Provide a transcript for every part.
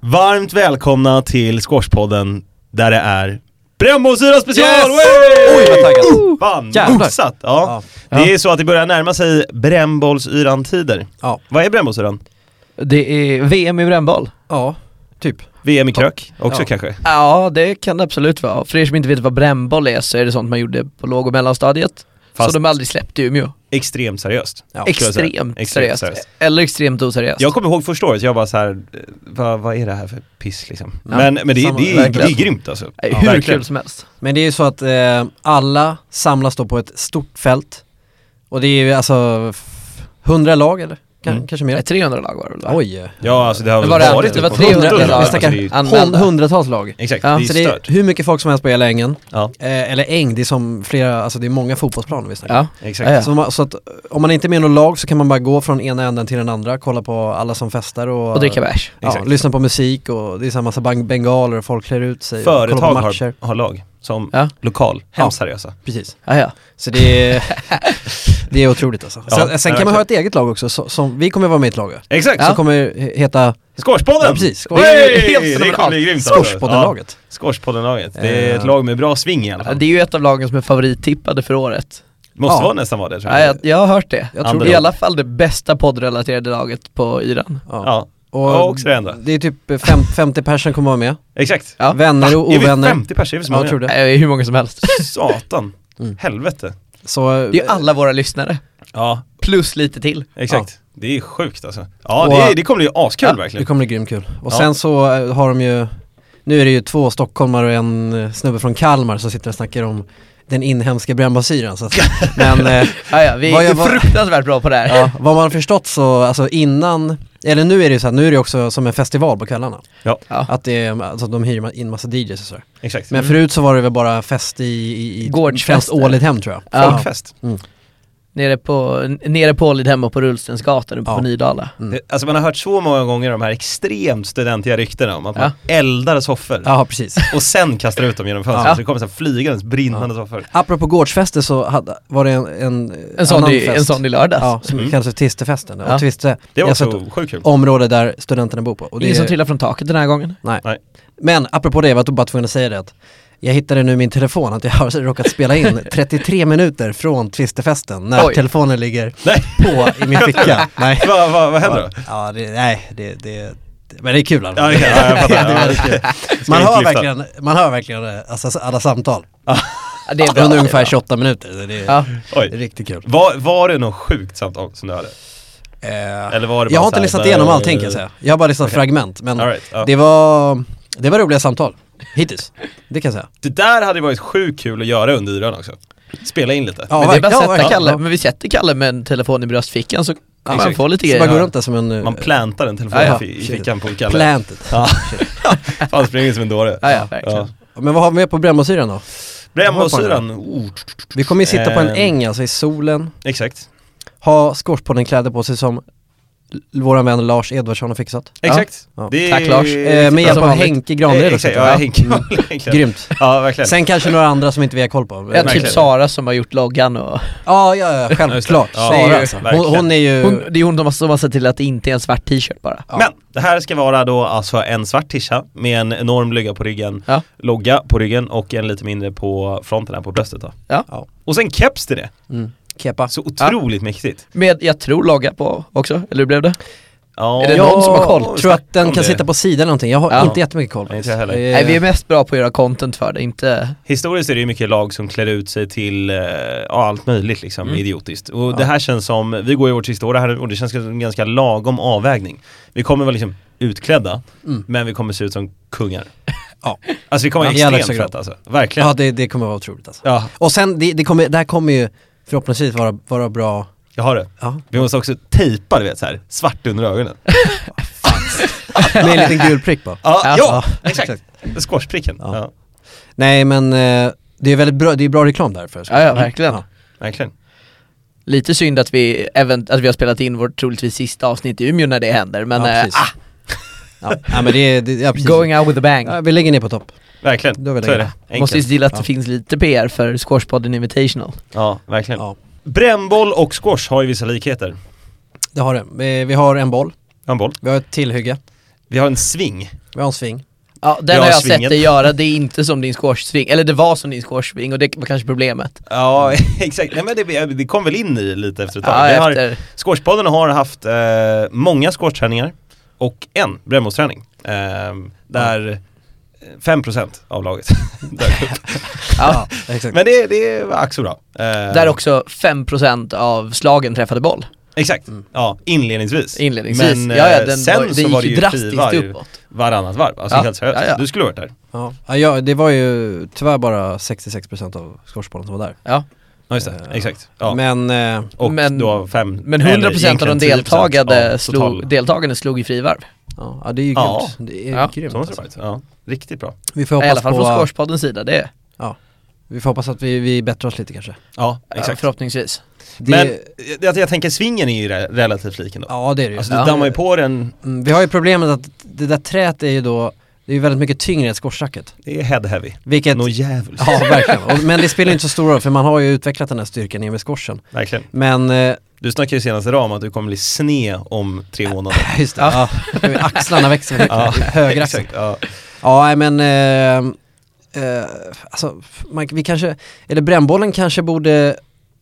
Varmt välkomna till Squashpodden där det är Brännbollsyra special! Yes! Wey! Oj, vad taggat. Fan, Jävlar. mosat! Ja. Det är så att det börjar närma sig brännbollsyran-tider. Ja. Vad är brännbollsyran? Det är VM i brännboll. Ja, typ. VM i krök också Ja. kanske? Ja, det kan det absolut vara. För er som inte vet vad brännboll är så är det sånt man gjorde på låg och mellanstadiet. Fast- Så de aldrig släppte i Umeå. Extremt seriöst. Alltså- Ja. skulle jag säga. Extremt, Extremt seriöst. seriöst. Eller extremt oseriöst. Jag kommer ihåg första året, jag bara så här, eh, vad, vad är det här för piss liksom? Ja, men men det, det, samma- är, det verkligen. är grymt alltså. Nej, Ja, Hur verkligen. kul som helst. Men det är ju så att eh, alla samlas då på ett stort fält. Och det är ju alltså f- 100 lag eller? Kan, Mm. Kanske Nej, mer? 300 lag var det väl? va? Oj. Ja alltså det har Men väl var det- varit det var typ på 300 kontor, lag, alltså, det är ju- stackars- Anmälda. Hon- Hundratals lag. Exakt, Ja, det är Så det är stört. hur mycket folk som helst på hela ängen. Ja, Eh, eller äng, det är som flera, alltså det är många fotbollsplaner vi snackar. Ja. exakt. Ja, ja. Så, man- så att eh, om man inte är med i något lag så kan man bara gå från ena änden till den andra, kolla på alla som festar och, Och dricka bärs. ja, Exakt. lyssna på musik och det är så här massa bang- bengaler och folk klär ut sig och kollar Företag på matcher. har, har lag som Ja. lokal, hemskt Ja. seriösa. Precis. Ja, ja. Så det är, det är otroligt alltså. Ja, sen sen kan verkligen. man ha ett eget lag också, så, som, vi kommer vara med i ett lag Exakt! som kommer he- heta Skårspodden! Ja, precis. Hey! Helt Det kommer bli grymt alltså. Squashpodden-laget. Ja, Squashpodden-laget. Det är ett Eh. lag med bra sving i alla Ja, fall. Det är ju ett av lagen som är favorittippade för året. Måste ja. vara nästan vara det tror Ja, jag. jag, jag har hört det. Jag tror det det. I alla fall det bästa poddrelaterade laget på yran. Ja. Ja. Och också det enda. Det är typ fem, 50 personer kommer vara med. Exakt. Ah, Ja. Vänner och Är vi ovänner. 50 personer? Är vi så Ja, jag många? tror det. Nej, Hur många som helst. Satan. Mm. Helvete. Så, Det är ju alla våra lyssnare. Ja, Plus lite till. exakt. Det är sjukt alltså. Ja, Och, det, är, äh, det kommer bli askul ja, verkligen. det kommer bli grymt kul. Och Ja. sen så eh, har de ju, nu är det ju två stockholmare och en eh, snubbe från Kalmar som sitter och snackar om den inhemska brännbasyran. så att- Men eh, Ja, ja, vi Vad jag är var- fruktansvärt bra på det här. ja, vad man har förstått så, alltså innan, eller nu är det ju så här, nu är det också som en festival på kvällarna. Ja, Ja. Mm. Att det är, alltså de hyr ma- in massa DJs och sådär. exakt. Men förut så var det väl bara fest i, i, i Gårdsfester. främst Ålidhem tror jag. Ja. Folkfest. Nere på, n- nere på Ålidhem och på Rullstensgatan uppe Ja. på Nydala. Mm. Det- Alltså man har hört så många gånger de här extremt studentiga ryktena om att man eldar soffor Ja, precis. och sen kastar ut dem genom fönstret. Ja. Så det kommer så här flygandes, brinnande soffor. Apropå gårdsfester så hade, var det en, en, En sån, i, en sån i lördags. Ja, som Mm. kallas för Tistefesten. Ja. Och Tiste, Det var jag har sett också sjukt kul. område där studenterna bor på. Och det Ingen som är- trillar från taket den här gången. Nej. Nej. Men apropå det, jag var bara tvungen att säga det att jag hittade nu i min telefon att jag har råkat spela in 33 minuter från Twisterfesten när Oj. telefonen ligger Nej. på i min ficka. Nej. Vad va, vad händer då? Ja, det, nej, det, det, det, men det är kul i alla Ja, fall. okej, ja, jag det fattar. är Ja. väldigt kul. Ska Man inte hör lyfta. verkligen, man hör verkligen eh, alltså, alla samtal. Ja, det är bra, det Under är ungefär bra. 28 minuter, så det är Ja. det är Oj. riktigt kul. Var, var det något sjukt samtal som du hade? Eh, Eller var det bara jag har så inte här, lyssnat bara- igenom allting kan jag säga. Jag har bara lyssnat fragment, men All right, ja. det, var, det var roliga samtal. Hittills, det kan jag säga. Det där hade varit sjukt kul att göra under yran också. Spela in lite. Ja, Men det är bara verkligen, att sätta verkligen. Kalle, Ja. men vi sätter Kalle med en telefon i bröstfickan så kan man exakt. få lite Så man går grejer. runt där som en eh, Man plantar en telefon Ja, ja. i fickan på Kalle. planted. Ja. Fan, springer som en dåre. Ja, ja, verkligen. Men vad har vi med på brännbollsyran då? Brännbollsyran, oh, Vi kommer ju sitta på en Ehm. äng alltså i solen, exakt. ha skorspodden-kläder på sig som l- våran vän Lars Edvardsson har fixat. Exakt. Ja. Det är- Tack, Lars. Eh, Eh, med hjälp Som av vanligt. Henke Granlund Eh, också. Exakt, ja, Henke verkligen. Mm. Grymt. Ja, verkligen. Sen kanske några andra som inte vi har koll på. Ja, typ Verkligen. Sara som har gjort loggan och Ja, ja, ja, självklart. Ja, Sara, det är ju- alltså. hon, verkligen. hon är ju... hon, det är hon som har- som har sett till att det inte är en svart t-shirt bara. ja. Men det här ska vara då alltså en svart tisha med en enorm lugga på ryggen, Ja. logga på ryggen och en lite mindre på fronten här på bröstet då. Ja. Ja. Och sen keps till det. Mm. Kepa. Så otroligt mäktigt. Med, jag tror, logga på också, eller hur blev det? Eh. Ja, Är det någon som har koll? tror att den kan sitta på sidan eller någonting. Jag har Ja. inte jättemycket koll. Nej, inte jag heller. Eh, Nej, vi är mest bra på att göra content för det, inte... Historiskt är det ju mycket lag som klär ut sig till eh, ja, allt möjligt liksom, Mm. idiotiskt. Och det här känns som, vi går i vårt sista år här nu och det känns som en ganska lagom avvägning. Vi kommer vara liksom utklädda, Mm. men vi kommer se ut som kungar. Ja. Alltså vi kommer vara Ja, i allra extremt högsta feta alltså. Verkligen. ja, det, det kommer vara otroligt alltså. Ja, Och sen, det, det, kommer, det här kommer ju förhoppningsvis vara, vara bra... jag har det. Ja. Vi måste också tejpa du vet så här, svart under ögonen. Med en liten gul prick på. Ja, Ja. ja exakt. Squashpricken. Ja. Ja. Nej men eh, det är väldigt bra, det är bra reklam där för Ja, ja, verkligen. verkligen. Lite synd att vi, event, att vi har spelat in vårt troligtvis sista avsnitt i Umeå när det händer, men ja, eh, precis. ja. ja men det är, det, ja, precis. going out with a bang. ja, vi lägger ner på topp. Verkligen. Då vill jag Så är det. göra. Enkelt. Måste ju se till att det Ja. finns lite PR för Squashpodden Invitational. Ja, verkligen. Ja. Brännboll och squash har ju vissa likheter. Det har det. Vi, vi har en boll, En boll. vi har ett tillhygge. Vi har en sving. Vi har en sving. Ja, den Bra har jag svingen. sett dig göra, det är inte som din squashsving, eller det var som din squashsving och det var kanske problemet. Ja, exakt. Nej, men det, det kom väl in i lite efter ett tag. Ja, Vi har- efter, Squashpodden har haft eh, många squashträningar och en brännbollsträning. Eh, där eh, 5% av laget dök upp. ja, exakt. Men det, det var ack så bra. Eh, där också 5% av slagen träffade boll Exakt, Mm. ja inledningsvis. inledningsvis. Men, ja, ja, eh, den sen var, så den var gick det ju ju drastiskt Fiva ju- uppåt. Varannat varv, alltså Ja, helt seriöst. ja, ja. Du skulle varit där. Ja. Ja, ja, det var ju tyvärr bara 66% av squashbollen som var där. Ja. Ja just det, Eh, exakt. Ja. Men, eh, och men- då fem, Men eller 100% av egentligen de 10% deltagande av slog, total- deltagarna slog i frivarv. ja, ja, det är ju Ja. grymt. Det är Ja. grymt Så måste det alltså. varit, ja. Riktigt bra. Vi får I alla hoppas, fall från på, squashpoddens sida, det är vi får hoppas att vi, vi bättrar oss lite kanske. Ja, ja, exakt. förhoppningsvis. Det, Men eh, jag, jag tänker svingen är ju re- relativt lik ändå. ja det är det ju. Alltså du Ja. dammar ju på den, Mm, vi har ju problemet att det där träet är ju då, det är ju väldigt mycket tyngre än squashracket. det är head heavy. Vilket, Nå jävligt. ja verkligen. Och, men det spelar ju inte så stor roll för man har ju utvecklat den här styrkan i och med squashen. Verkligen. Men, eh, Du snackade ju senast idag om att du kommer bli sne om tre månader. just det, Ja. ja. axlarna växer mycket, Ja, höger axel. Exakt, ja. Ja, nej, men eh, eh, alltså, man, vi kanske, eller brännbollen kanske borde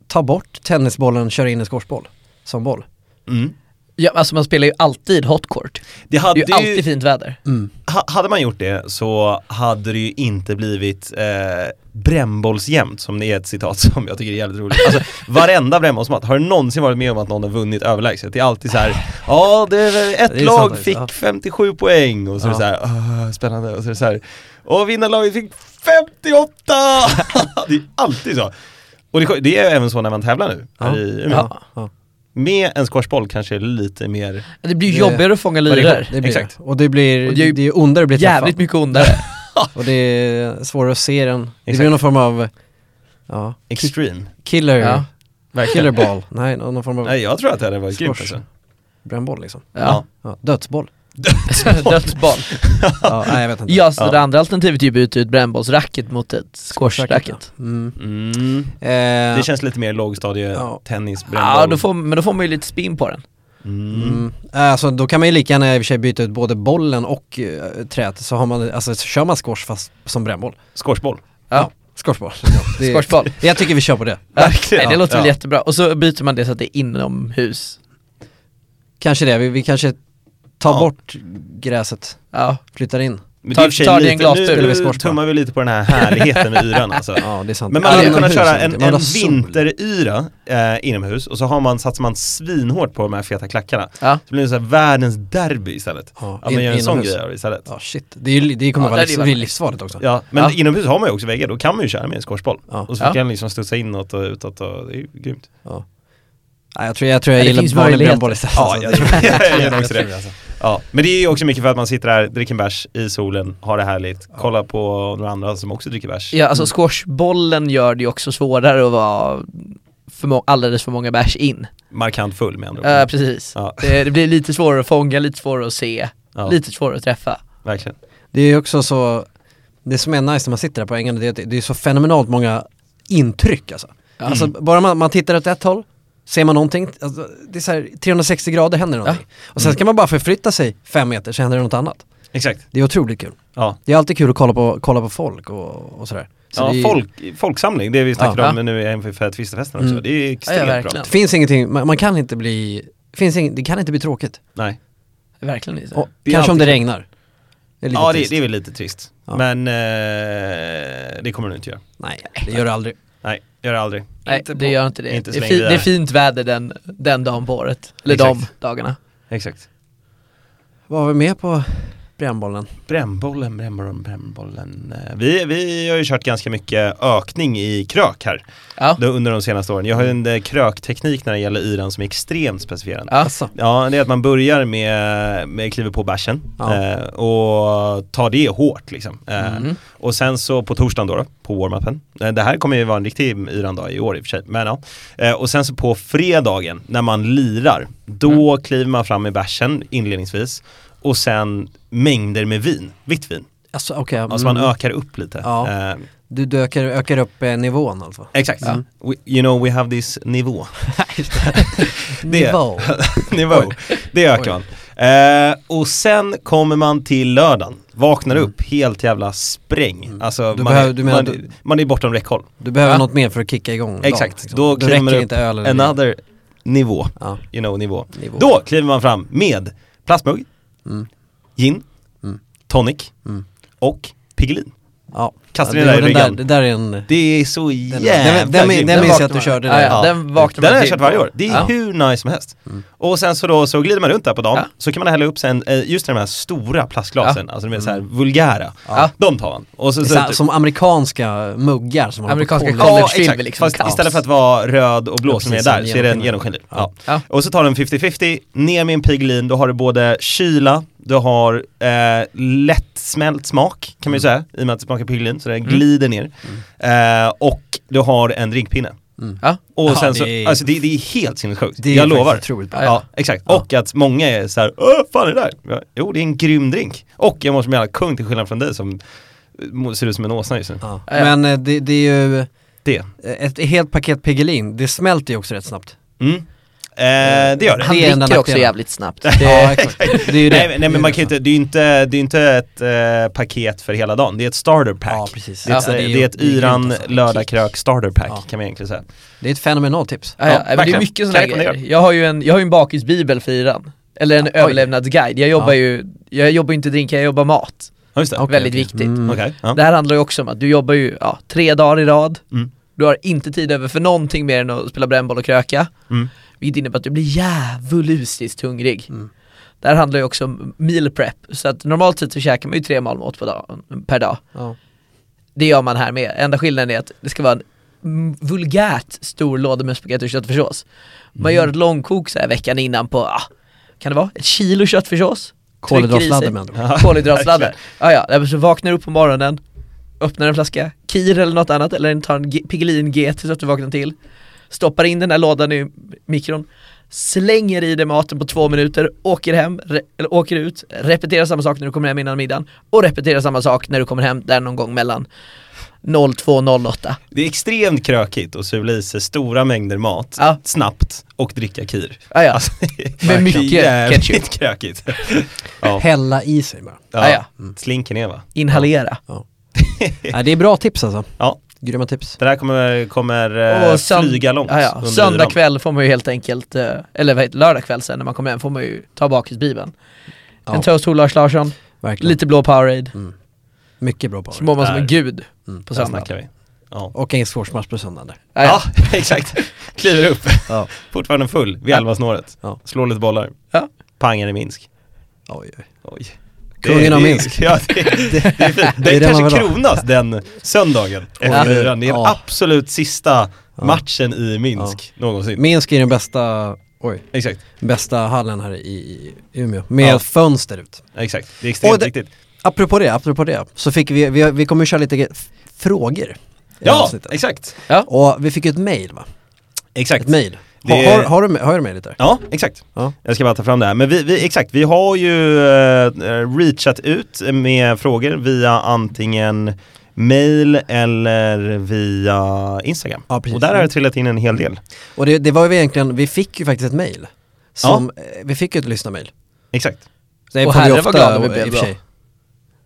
ta bort tennisbollen, köra in en squashboll som boll. Mm. Ja, alltså man spelar ju alltid hotcourt. Det Det hade är ju alltid ju, fint väder. Mm. ha, hade man gjort det så hade det ju inte blivit eh, brännbollsjämnt som det är ett citat som jag tycker är jävligt roligt. Alltså varenda brännbollsmatch, har du någonsin varit med om att någon har vunnit överlägset? Det är alltid så här, ja det är väl ett Det är sant lag faktiskt, fick ja. 57 poäng och så är det så här, "Ah, spännande och så är det så här, och vinnarlaget fick 58! det är alltid så. Och det, det är även så när man tävlar nu, här Ja. i Umeå. Ja. Ja. Med en squashboll kanske lite mer, Det blir ju Det- jobbigare att fånga det liror. Det blir, Exakt. Exakt. Och det blir, Och det det är ju är ju ondare att bli Jävligt träffad. mycket ondare. Och det är svårare att se den. Det Exakt. blir någon form av, ja, ki- extreme. killer, Ja. Verkligen. killer ball. Nej, någon någon form av Nej jag tror att det hade varit grymt Squash. alltså. brännboll liksom. Ja. Ja, dödsboll. Dödsboll. ja, nej jag vet inte. Ja, så Ja. det andra alternativet är ju att byta ut brännbollsracket mot ett squashracket. Mm. Mm. Eh, Det känns lite mer lågstadie, Ja. tennis, Ja, då brännboll. får, men då får man ju lite spin på den. Mm. Mm. Alltså då kan man ju lika gärna i och för sig byta ut både bollen och eh, träet så har man, alltså så kör man squash fast som brännboll. Squashboll. Ja. Squashboll. Ja, det är- Squashboll. Jag tycker vi kör på det. Verkligen. Nej, det låter väl Ja. jättebra. Och så byter man det så att det är inomhus. Kanske det, vi, vi kanske tar Ja. bort gräset, Ja. flyttar in. Men Tar- i och för sig tar det en lite- glastur Nu, eller nu squashboll? tummar vi lite på den här härligheten med yran alltså. Ja det är sant. Men man Ja, hade det- kunnat Inomhus köra är det. en, Man vill en ha sol. vinteryra eh, inomhus och så har man, satsar man svinhårt på de här feta klackarna. Ja. Så blir det så här världens derby istället. Ja, Att man gör en sån inomhus. grej av det istället. Ja shit, det, är ju, det kommer Ja, vara det är livs, ju bli livsfarligt också. Ja, men Ja. inomhus har man ju också väggar, då kan man ju köra med en squashboll. Ja. Och så Ja. kan den liksom studsa inåt och utåt och det är ju grymt. Nej, jag tror jag, tror jag Ja, det finns gillar vanlig möjligheter. brännboll istället. Ja, alltså. jag Det- tror- jag gör också tror det. Ja, men det är ju också mycket för att man sitter här, dricker bärs i solen, har det härligt, kollar på några andra som också dricker bärs. Ja, alltså squashbollen gör det ju också svårare att vara för må- alldeles för många bärs in. Markant full med andra ord. Ja, precis. Ja. Det, det blir lite svårare att fånga, lite svårare att se, Ja, lite svårare att träffa. verkligen. Det är ju också så, det som är nice när man sitter där på ängarna det är att det det är så fenomenalt många intryck alltså. Ja. Mm. Alltså bara man, man tittar åt ett håll, ser man någonting, alltså, det är så här 360 grader händer någonting. Och Mm. sen kan man bara förflytta sig fem meter så händer det något annat. Exakt. Det är otroligt kul. Ja, Det är alltid kul att kolla på, kolla på folk och, och sådär. Så ja det, är- folk, folksamling, det vi snackade Ja. om nu inför Twistefesten också. Mm. Det är Ja, extremt ja, verkligen. bra. det finns ingenting, man, man kan inte bli, finns ing, det kan inte bli tråkigt. Nej. Verkligen inte. Och, Det är kanske om det alltid- regnar. Det är lite Ja, det, trist. det är väl lite trist. Ja. Men eh, det kommer du inte göra. Nej, det gör det aldrig. Nej, gör det aldrig. Nej, Inte på- det gör inte det. inte så det, är länge fi- vi är det är här. fint väder den, den dagen på året. Eller Exakt. de dagarna. Exakt. Vad var vi med på brännbollen? Brännbollen, brännbollen, brännbollen. Eh, Vi, vi har ju kört ganska mycket ökning i krök här Ja. då, under de senaste åren. Jag har ju en eh, krökteknik när det gäller yran som är extremt specifierad. Ja. Alltså, Ja, det är att man börjar med, med kliver på bärsen Ja. Mhm. eh, och tar det hårt liksom. Eh, Mm. Och sen så på torsdagen då, då på warm-upen. Eh, det här kommer ju vara en riktig yran-dag i år i och för sig, men ja. Eh, och sen så på fredagen när man lirar, då Mm. kliver man fram med bärsen inledningsvis och sen mängder med vin, vitt vin. alltså okej. Alltså mm. man ökar upp lite. Ja. Eh, Du du ökar, ökar upp eh, nivån alltså? exakt. Mm. We, you know we have this nivå. Nivå. nivå. Det ökar man. Eh, och sen kommer man till lördagen, vaknar upp helt jävla spräng. Alltså Mm. Du man, behöver- är, du menar man, att du- man är bortom räckhåll. Du behöver Ja. något mer för att kicka igång dagen, Exakt, liksom. då Det klimmer räcker upp inte öl eller Another nivå, Ja, you know nivå. nivå. Då kliver man fram med plastmugg, Mm. gin, Mm. tonic Mm. och Piggelin. Ja. Kastar ja, den där i den där, ryggen. det där är en... Den, Det är så den, jävla den, den, grymt. minns jag att vaknar du man. körde Ja, där. ja. Den vaknar Den har man jag till kört på. varje år, det är Ja. hur nice som helst. Mm. Och sen så då så glider man runt där på dagen, Ja. så kan man hälla upp sen, eh, just de här stora plastglasen, alltså de är så här vulgära. Ja. De tar man. Och så, Det så, är så- Som amerikanska muggar som håller på Amerikanska att kolla. kameror. ja, College exakt. Film, liksom, Fast kaos. istället för att vara röd och blå Ja, som är precis, där en så är den genomskinlig. genomskinlig. Ja. Ja. Och så tar den 50-50, ner med en piglin, då har du både kyla, du har eh, lättsmält smak kan man ju säga, i och med att det smakar piglin, så den Mm. glider ner. Eh, och du har en drinkpinne. Mm. Ja. Och Ja, sen det så, är- alltså det, det är helt sinnessjukt. Det är jag faktiskt lovar. otroligt bra. Ja, Ja. exakt. Ja. Och att många är så här, Åh, fan är det där? Ja, Jo, det är en grym drink. Och jag måste som jävla kung till skillnad från dig som eh, ser ut som en åsna just nu. Ja. Ja, ja. Men eh, det, det är ju eh, Det. ett helt paket Piggelin, det smälter ju också rätt snabbt. Mm. Eh, det gör det. Han Det är enda dricker också nackdelen. jävligt snabbt. Det, ja, exakt. det är ju det. Nej, men- nej Det är men man det. kan ju inte, det är ju inte, det är ju inte ett eh, paket för hela dagen, det är ett starter pack. Ja, precis. Det är, ett, Ja, det är ju- det är ett det är grymt yran alltså. lördagkrök starter pack Ja. kan man egentligen säga. Det är ett fenomenalt tips. Ja, ja, men det är verkligen. mycket sådana Kan jag grejer. Jag har ju en, jag har ju en bakisbibel för Iran. Eller en Ja, oj. överlevnadsguide. Jag jobbar Ja. ju, jag jobbar ju inte drinkar, jag jobbar mat. Ja just det, okej. Väldigt viktigt. Mm. ja. Det här handlar ju också om att du jobbar ju ja, tre dagar i rad, Mm. du har inte tid över för någonting mer än att spela brännboll och kröka, Mm. vilket innebär att du blir djävulusiskt hungrig. Mm. Det här handlar ju också om meal prep, så att normalt sett så käkar man ju tre malmåt på dag, per dag. Ja. Det gör man här med. Enda skillnaden är att det ska vara en mm, vulgärt stor låda med spagetti och köttfärssås. Man Mm. gör ett långkok så här veckan innan på, ah, kan det vara, ett kilo köttfärssås? trycker i sig. Kolhydratsladdar med andra ord. Ja. kolhydratsladdare. Ja, ja, Nej, men så vaknar du upp på morgonen, öppnar en flaska Kir eller något annat, eller en- tar en G- Piggelin G tills att du vaknar till, stoppar in den här lådan i mikron, slänger i dig maten på två minuter, åker hem, re- eller åker ut, repeterar samma sak när du kommer hem innan middagen och repeterar samma sak när du kommer hem där någon gång mellan 02.08. Det är extremt krökigt att sula i sig stora mängder mat Ja. snabbt och dricka kir. Ja, ja. Alltså, Med mycket det är jävligt ketchup. krökigt. ja. Hälla i sig bara. Ja. mm. Ja, ja. Slinker ner va? Inhalera. Nej, det är bra tips alltså. Ja. Grymma tips. Det där kommer, kommer eh, sönd- flyga långt. Ja, ja. under Söndag yran. kväll får man ju helt enkelt, eh, eller vad heter, lördag kväll sen när man kommer hem får man ju ta bakisbibeln. Ja. En toast till Lars Larsson, Verkligen. lite blå Powerade, Mycket bra på så mår man som Där. en gud på Där söndag. snackar vi. Ja. Och en squashmatch på söndagen där. Ja, Ja, ja. exakt. Kliver upp, Ja. fortfarande full vid Alvasnåret. Ja. Slår lite bollar. Ja. Pangar i Minsk. Oj, oj. Oj. Kungen Det- av det- Minsk. Ja, det, det, det är fint. Det Den är det man kanske vill ha. kronas den söndagen efter Oj. yran. Det är den Ja. absolut sista matchen i Minsk någonsin. Minsk är den bästa, oj, Exakt, bästa hallen här i, i Umeå. Med Ja. fönster ut. exakt. Det är extremt Och det- viktigt. Apropå det, apropå det, så fick vi, vi, vi kommer köra lite ge- f- frågor. i det här Ja, avsnittet. exakt. Och vi fick ju ett mail va? Exakt. Ett mail. Det- Har, har, har, du, har du mailet där? Ja, exakt. Ja. Jag ska bara ta fram det här. Men vi, vi, exakt, vi har ju eh, reachat ut med frågor via antingen mail eller via Instagram. Ja, precis. Och där har det trillat in en hel del. Och det, det var ju egentligen, vi fick ju faktiskt ett mail. Som, eh, vi fick ju ett lyssnarmail. Exakt. Det Och får vi herre, vad glada vi eh, blev i och för då. sig.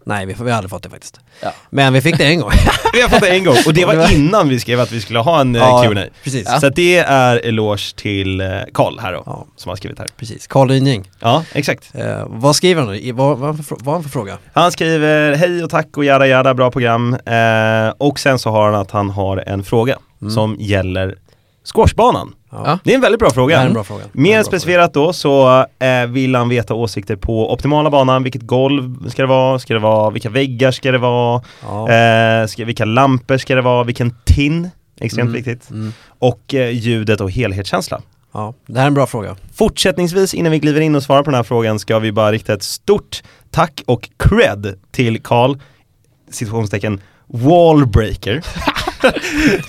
Nej, vi, får- vi har aldrig fått det faktiskt. Ja. Men vi fick det en gång. Vi har fått det en gång och det Och det var var- innan vi skrev att vi skulle ha en eh, Ja, Q&A. precis. Så att det är eloge till eh, Karl här då, Ja. som har skrivit här. Precis, Carl Rynning. Ja, exakt. Eh, vad skriver han? I, vad, vad, han för, frå- vad han för fråga? Han skriver hej och tack och jada jada, bra program. Eh, och sen så har han att han har en fråga Mm. som gäller squashbanan. Ja. Det är en väldigt bra Det fråga. här är en bra fråga. Det här är en Mer bra specificerat då så eh, vill han veta åsikter på optimala banan, vilket golv ska det vara, ska det vara vilka väggar ska det vara, fråga. Ja. eh, ska, vilka lampor ska det vara, vilken tin, extremt viktigt, Mm. och eh, ljudet och helhetskänsla. ja, det här är en bra fråga. Fortsättningsvis innan vi kliver in och svarar på den här frågan ska vi bara rikta ett stort tack och cred till Karl, situationstecken, wallbreaker. eh,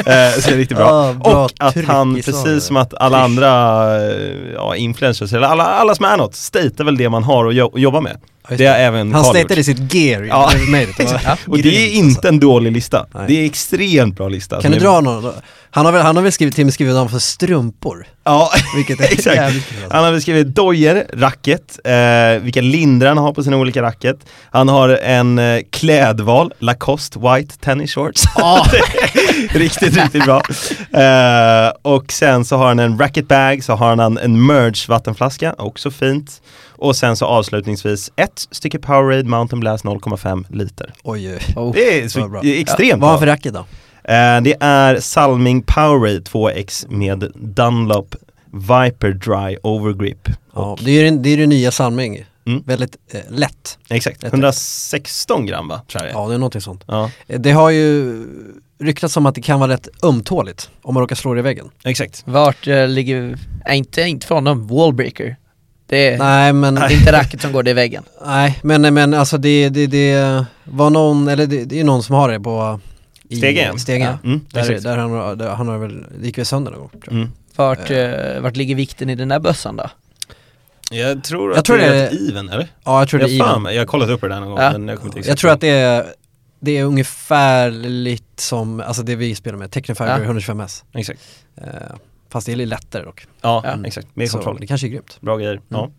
så det är riktigt bra. Ah, Ja, bra och att tryck han, i svaret. precis som att alla andra eh, ja, influencers, eller alla, alla som är något, statear väl det man har att jo- jobba med. just Det har även Han Carl gjort. stateade i sitt gear ju. Ja. Det var med det. Det var- Och det är inte en dålig lista. Nej. Det är extremt bra lista. alltså. Alltså, Kan du Som dra någon då? Han har väl, han har väl skrivit, till och med skrivit dem för strumpor? Ja, Vilket är exakt. jävligt kul alltså. Han har beskrivit dojer, racket, eh, vilka lindrar han har på sina olika racket. Han har en eh, klädval, Lacoste White Tennis Shorts. riktigt, riktigt bra. Eh, och sen så har han en racketbag, så har han en merge vattenflaska, också fint. Och sen så avslutningsvis ett stycke Powerade Mountain Blast 0,5 liter. Oj, oj. Det är, Vad så, bra. det är extremt Vad har bra. han för racket då? Eh, det är Salming Powerade 2X med Dunlop Viper Dry Overgrip. Ja, det är ju den- det, är det nya Salming. Mm. Väldigt eh, lätt. Exakt, Ett- 116 gram va, tror jag det är. Ja, det är någonting sånt. Ja, Eh, Det har ju ryktats om att det kan vara rätt ömtåligt om man råkar slå det i väggen. exakt. Vart eh, ligger, nej inte, inte för honom, wallbreaker. Det Eh. är Nej, men, det är inte racket som går, det är väggen. nej, men, men alltså det, det, det var någon, eller det, det är någon som har det på i- Stegen. Stegen. Ja. Mm, Där, är- exakt. där han, har- där han har väl, det gick väl sönder någon gång tror jag. Mm. Vart, eh, vart ligger vikten i den där bössan då? Jag tror att Jag tror det är det är- rätt even, eller? Ja, jag tror det är jag, Ivan. fan, jag har kollat upp det där någon gång, Ja. men jag kommer inte Jag tror att det är, det är ungefärligt som, alltså det vi spelar med, Technofiber Ja. 125S. Exakt. Eh, fast det är lite lättare dock. Ja, Ja. exakt. Mer Så kontroll. det kanske är grymt. Bra grejer. Ja.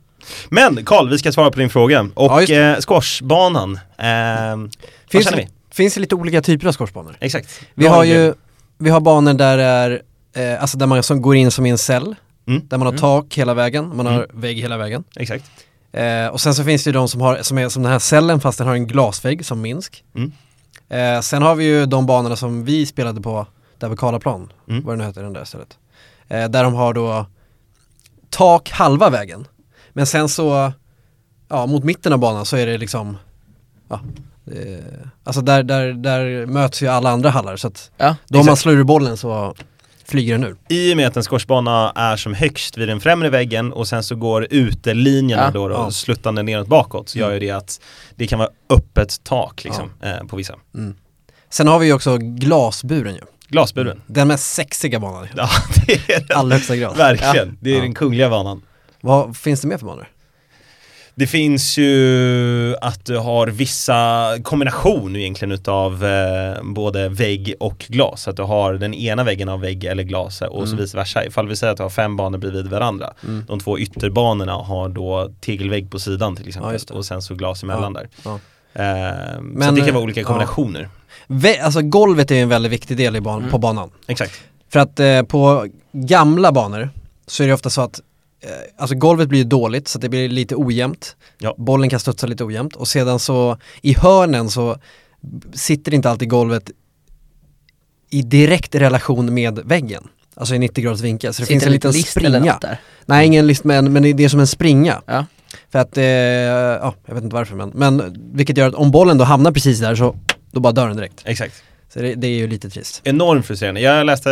Men Karl, vi ska svara på din fråga. Ja, Och just eh, squashbanan, ehm, vad Finns känner det, vi? finns det lite olika typer av squashbanor? Exakt. Vi Bra har grej. ju, vi har banor där det är, eh, alltså där man som går in som i en cell, Mm. där man har Mm. tak hela vägen, man har Mm. vägg hela vägen. Exakt. Eh, och sen så finns det ju de som, har, som är som den här cellen fast den har en glasvägg som Minsk. Mm. Eh, sen har vi ju de banorna som vi spelade på där vid Karlaplan, Mm. vad det nu heter den där stället. Eh, där de har då tak halva vägen. Men sen så, ja mot mitten av banan så är det liksom, ja, eh, alltså där, där, där möts ju alla andra hallar så att Ja, då om man Exakt. slår ur bollen så flyger den ur. I och med att en squashbana är som högst vid den främre väggen och sen så går utelinjerna Ja. då, då Ja. Mm. sluttande neråt bakåt så gör ju det att det kan vara öppet tak liksom eh, på vissa. Sen har vi ju också glasburen ju. Glasburen. Den mest sexiga banan Ja, det är i den. allra högsta grad. Verkligen, det är Ja. den kungliga vanan. Vad finns det mer för banor? Det finns ju att du har vissa kombination egentligen utav eh, både vägg och glas. Att du har den ena väggen av vägg eller glas och Mm. så vice versa. Ifall vi säger att du har fem banor bredvid varandra. De två ytterbanorna har då tegelvägg på sidan till Ja, exempel just det. och sen så glas emellan där. Ja. Eh, så Men, att det kan vara eh, olika ja. kombinationer. Vä- alltså golvet är ju en väldigt viktig del i ban- på banan. Exakt. För att eh, på gamla banor så är det ofta så att eh, alltså golvet blir ju dåligt så att det blir lite ojämnt. Ja. Bollen kan studsa lite ojämnt och sedan så i hörnen så b- sitter inte alltid golvet i direkt relation med väggen. Alltså i 90 graders vinkel. Så det finns en liten springa. där. Nej, ingen list men, men det är som en springa. Ja. För att, eh, ja, jag vet inte varför men, men vilket gör att om bollen då hamnar precis där så då bara dör den direkt. Exakt. Så det, det är ju lite trist. Enormt frustrerande. Jag läste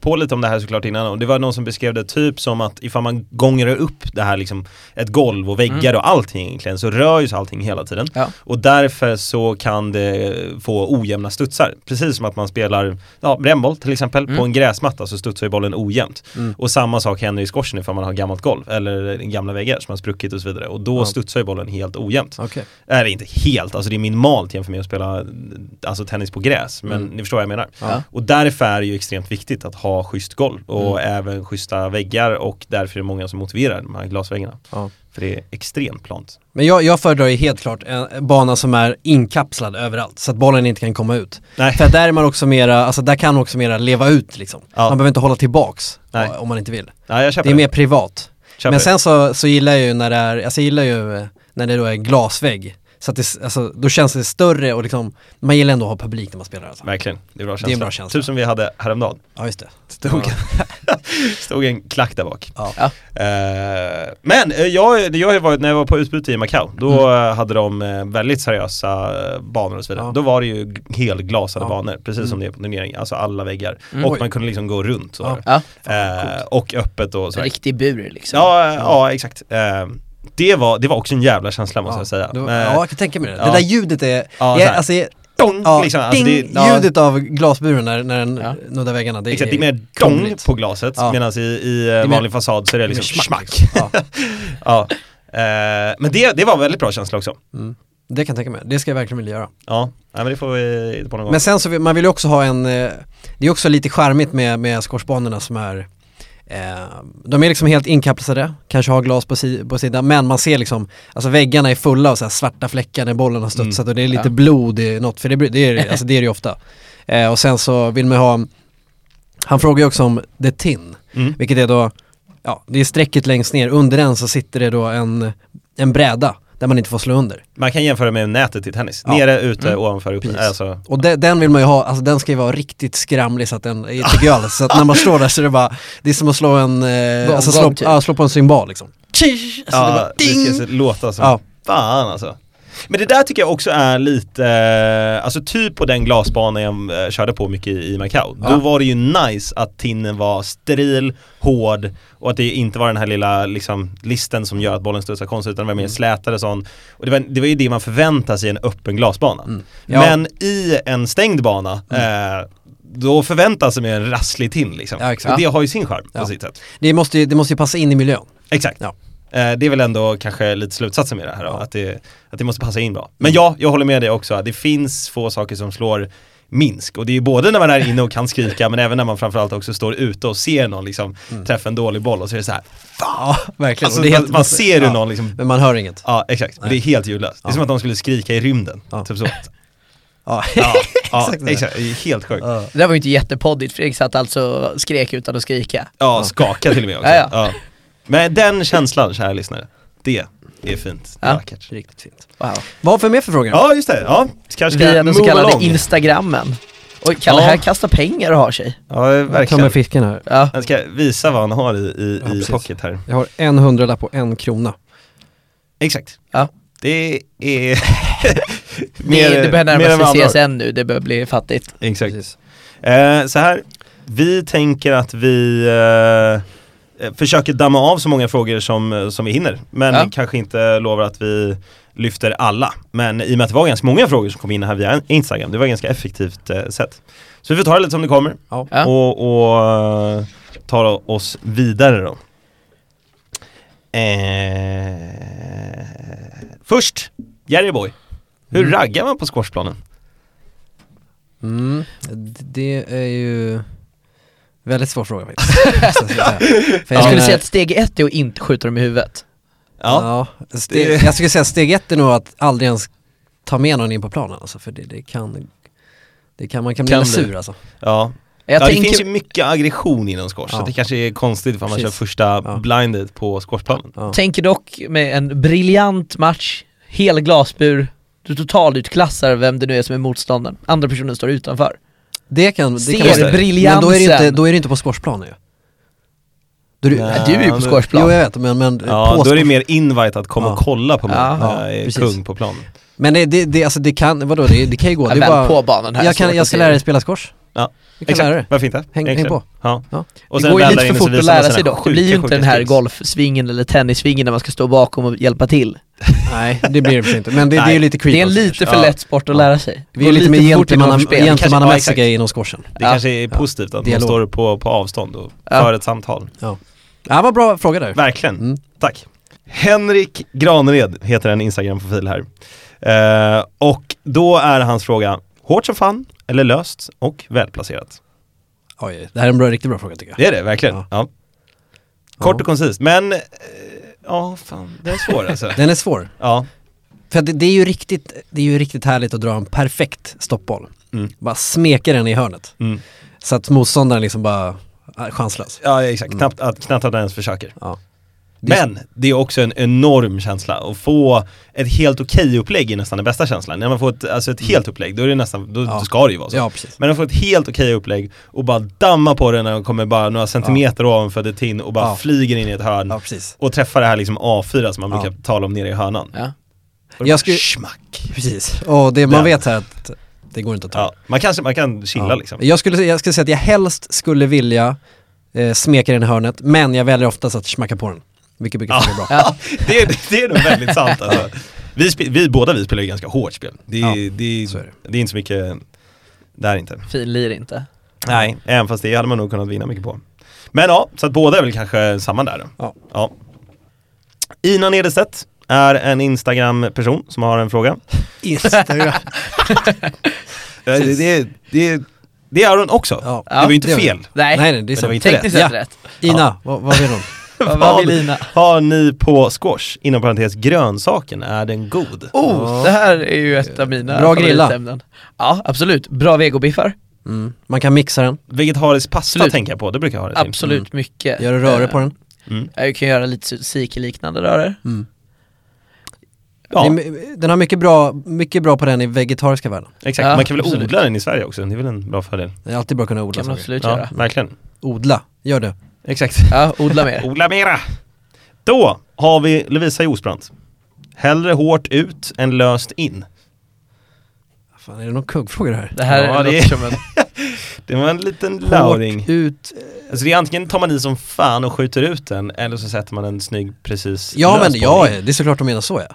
på lite om det här såklart innan och det var någon som beskrev det typ som att ifall man gånger upp det här liksom ett golv och väggar och allting egentligen så rör ju sig allting hela tiden. Ja. Och därför så kan det få ojämna studsar. Precis som att man spelar ja, brännboll till exempel på en gräsmatta så studsar ju bollen ojämnt. Och samma sak händer i skorsen ifall man har gammalt golv eller gamla väggar som har spruckit och så vidare. Och då Ja. studsar ju bollen helt ojämnt. Okej. Eller inte helt, alltså det är minimalt jämfört med att spela alltså, tennis på gräs. Men ni förstår vad jag menar. Ja. Och därför är det ju extremt viktigt att ha schysst golv och Mm. även schyssta väggar och därför är det många som motiverar de här glasväggarna. Ja. För det är extremt plant. Men jag, jag föredrar ju helt klart en bana som är inkapslad överallt så att bollen inte kan komma ut. Nej, För att där är man också mera, alltså där kan också mera leva ut liksom. Ja. Man behöver inte hålla tillbaks Nej. eh, om man inte vill. Nej jag köper det. Det är mer privat. köper Men det. sen så, så gillar jag ju när det är, alltså jag gillar ju eh, när det då är glasvägg. Så att det, alltså, då känns det större och liksom, man gillar ändå att ha publik när man spelar alltså. Verkligen, det är en bra känsla. Det är en bra känsla. Typ som vi hade häromdagen. Ja just det. Stod, stod en klack där bak. Ja. Ja. Eh, men eh, jag, det jag har ju varit, när jag var på utbyte i Macao då eh, hade de eh, väldigt seriösa eh, banor och så vidare. Mm. Ja. Då var det ju g- helglasade Ja. Mm. banor, precis som det är på turnering, alltså alla väggar. Mm. Och Oj. man kunde liksom gå runt så Ja. var det. Ja, Eh, och öppet och en sådär. riktig bur liksom. Ja, ja exakt. Eh, det, var, det var också en jävla känsla måste jag säga. Det var- Eh, ja, jag kan tänka mig det. ja. Det där ljudet är, Ja, ja, så jag, här. alltså, jag, dong, ja, liksom. Alltså, ding, det, ja, ljudet av glasburen när, när den Ja. nuddar väggarna. Det Exakt, det är mer är dong krångligt. på glaset Ja. medan i, i eh, mer- vanlig fasad så är det liksom mer smack. Ja. Ja. Eh, men det, det var en väldigt bra känsla också. Mm. Det kan jag tänka mig, det ska jag verkligen vilja göra. Ja, nej, men det får vi hitta på någon gång. Men sen så, vill, man vill ju också ha en, eh, det är också lite charmigt med, med squashbanorna som är, eh, de är liksom helt inkapslade, kanske har glas på, si, på sidan, men man ser liksom, alltså väggarna är fulla av så här svarta fläckar när bollen har studsat och det är lite Ja. blod i något, för det, blir- det, är, alltså det är det ju ofta. Eh, och sen så vill man ha, han frågar ju också om the tin, Mm. vilket är då, ja det är strecket längst ner, under den så sitter det då en, en bräda där man inte får slå under. Man kan jämföra med nätet i tennis. Ja. Nere, ute, Mm. ovanför, uppe. Precis. Alltså, Och de, den vill man ju ha, alltså den ska ju vara riktigt skramlig så att den, tycker jag alltså, så att när man står där så är det bara, det är som att slå en, eh, Gong, alltså gong, slå, typ. ja, slå på en cymbal liksom. Alltså, det ja, bara det, ding! ska så- låta som Ja. fan alltså. Men det där tycker jag också är lite, eh, alltså typ på den glasbanan jag eh, körde på mycket i i Macau. Då Ja. var det ju nice att tinnen var steril, hård och att det inte var den här lilla liksom, listen som gör att bollen studsar konstigt utan det var Mm. mer slätare sån. Och det var, det var ju det man förväntar sig i en öppen glasbana. Mm. Ja. Mm. Men i en stängd bana, eh, då förväntas det med en rasslig tinn liksom. Ja, exakt. och det har ju sin charm på Ja. sitt sätt. Det måste ju, det måste ju passa in i miljön. Exakt. Ja. Eh, Det är väl ändå kanske lite slutsatsen med det här då, Ja. att, det, att det måste passa in bra. Men ja, jag håller med dig också, det finns få saker som slår Minsk och det är ju både när man är inne och kan skrika men även när man framförallt också står ute och ser någon liksom träffa en dålig boll och så är det så här. Ja, verkligen. Alltså, Mm. Och det är man, man ser hur någon liksom, Men man hör inget. ja exakt, men det är helt ljudlöst. Det är Ja. som att de skulle skrika i rymden, Ja. typ så. Ja. Ja, ja Exakt. exakt, det är helt sjukt. Ja. Det där var ju inte jättepoddigt, Fredrik satt alltså och skrek utan att skrika. Ja, skaka till och med också. Ja, Ja. Men den känslan, kära lyssnare, det är fint. Det är Ja. vackert. Riktigt fint. Wow. Vad har vi för mer för frågor? Ja, just det. Ja, kanske ska Via den så move kallade along. instagrammen. Och Kalle Ja. här kastar pengar och har sig. Ja, eh, jag tar med verkligen. fisken här. Ja. Jag ska visa vad han har i, i, Ja, i precis. pocket här. Jag har en hundralapp och en krona. Exakt. Ja. Det är... Mer, det börjar mer än vad närma sig andra CSN nu, det börjar bli fattigt. har. Exakt. Precis. Eh, så här, vi tänker att vi eh, eh, försöker damma av så många frågor som, eh, som vi hinner. Men Ja. kanske inte lovar att vi lyfter alla. Men i och med att det var ganska många frågor som kom in här via Instagram, det var ett ganska effektivt eh, sätt. Så vi får ta det lite som det kommer Ja. Ja. och, och eh, tar oss vidare då. Eh, först, Jerry Boy. Hur Mm. raggar man på squashplanen? Mm. D- Det är ju väldigt svår fråga faktiskt. Så att säga. För Jag skulle menar- säga att steg ett är att inte skjuta dem i huvudet. Ja, Ja, ste- jag skulle säga steg ett är nog att aldrig ens ta med någon in på planen alltså, för det, det kan, det kan, man kan bli Kan lite bli. sur alltså. ja. Jag ja det tänker, finns ju mycket aggression inom squash, så Ja. det kanske är konstigt om man kör Precis. första Ja. blindet på squashplanen. Ja. tänker dock med en briljant match, hel glasbur, du totalutklassar vem det nu är som är motståndaren. Andra personen står utanför. Det kan, det Ser kan vara- Men då är, det ju inte, briljansen. då är det inte på squashplanen ju. Då är det, Nej. du är men- ju på Jo squashplan. jag vet, men, men Ja, på då är det squash- mer invite att komma Ja. och kolla på mig Ja. när jag Ja, är precis. kung på planen. Men det, det, det, alltså, det kan, vadå, det, det kan ju gå. Ja, Det är väl bara, på banan här. jag, svårt kan, jag att ska se. lära dig spela squash. Ja. Du kan lära dig. varför inte? Häng, häng Egentligen. på. Ja. Ja. Och det sen går ju väl lite där för inne så fort att visar man lära sina sig dock. Det blir ju sjuka, inte den sjuka här skills. golfsvingen eller tennissvingen där man ska stå bakom och hjälpa till. Nej, det blir det för sig inte. Men det, det är Nej. ju lite creepy. Det är en också. lite för Ja. lätt sport att lära sig. Vi Gå är lite mer för fort i gentlemanna- golfspel. gentleman- gentlemannamässiga Ja, inom squashen. Det Ja. kanske är positivt att man Dialog. står på, på avstånd och Ja. för ett samtal. Ja, vad bra fråga där. Verkligen. Mm. Tack. Henrik Granered heter en Instagram-profil här. Eh, och då är hans fråga, hårt som fan eller löst och välplacerat? Oj, det här är en bra, riktigt bra fråga tycker jag. Det är det verkligen. Ja. Ja. Kort Ja. och koncist, men eh, ja, fan, det är svårt alltså. Den är svår. ja. För att det, det, är ju riktigt, det är ju riktigt härligt att dra en perfekt stoppboll. Mm. Bara smeka den i hörnet. Mm. Så att motståndaren liksom bara, ah, chanslös. ja, exakt. Knappt att, knappt att den ens försöker. Ja. Men det är också en enorm känsla att få ett helt okej upplägg är nästan den bästa känslan. När man får ett, alltså ett helt upplägg, då är det nästan, då, Ja. då ska det ju vara så. Ja, precis. Alltså. Men de får ett helt okej upplägg och bara damma på den när de kommer bara några centimeter ovanför det tin och bara Ja. flyger in i ett hörn Ja, precis. och träffar det här liksom A4 som man Ja. brukar tala om nere i hörnan. Ja. Och det Jag bara skulle- Schmack! precis. Och det, man Den. vet här att det går inte att ta. Ja, man, kanske, man kan chilla Ja. liksom. Jag skulle, jag skulle säga att jag helst skulle vilja eh, smeka den i hörnet, men jag väljer oftast att smacka på den. Vilket brukar funka bra. Ja. Det, är- det är nog väldigt sant alltså. vi, spe- vi Båda vi spelar ju ganska hårt spel. Det, är- Ja, det, så är är, det är inte så mycket där inte. Fin lir inte. Nej, även fast det hade man nog kunnat vinna mycket på. Men ja, så att båda är väl kanske samma där då. Ja. ja. Ina Nedestedt är en Instagram-person som har en fråga. Instagram. Eh, Det, det, det, det är hon också. Ja. Det var ju inte det var det. fel. Nej, Nej, nej, det är Men det var sant. inte rätt. tekniskt sett Ja. rätt. Ina, vad, vad vill hon? Vad, vad vill Ina? har ni på squash, inom parentes grönsaken, är den god? Oh, det här är ju ett av mina Bra grilla. favoritämnen. Ja, absolut. Bra vegobiffar. Mm. Man kan mixa den, Vegetarisk pasta Absolut. tänker jag på, det brukar jag ha det till. Absolut mycket. göra Mm. röre på Eh, den. Mm. Jag kan göra lite tzatziki-liknande röror. Mm. Ja, Det är- Den har mycket bra, mycket bra på den i vegetariska världen. exakt. Ja, Man kan väl absolut. odla den i Sverige också, det är väl en bra fördel. Det är alltid bra att kunna odla Kan man saker. absolut Ja, göra. verkligen. Odla, gör det. Exakt. Ja, odla mer. Odla mera! Då har vi Lovisa Josbrandt. Hellre hårt ut än löst in. Fan, är det någon kuggfråga det här? Det här Ja, låter det- som en... Det var en liten lauring. Hårt ut. Alltså det är antingen tar man i som fan och skjuter ut den, eller så sätter man en snygg precis Ja lös men på ja, den. det är såklart de menar så ja.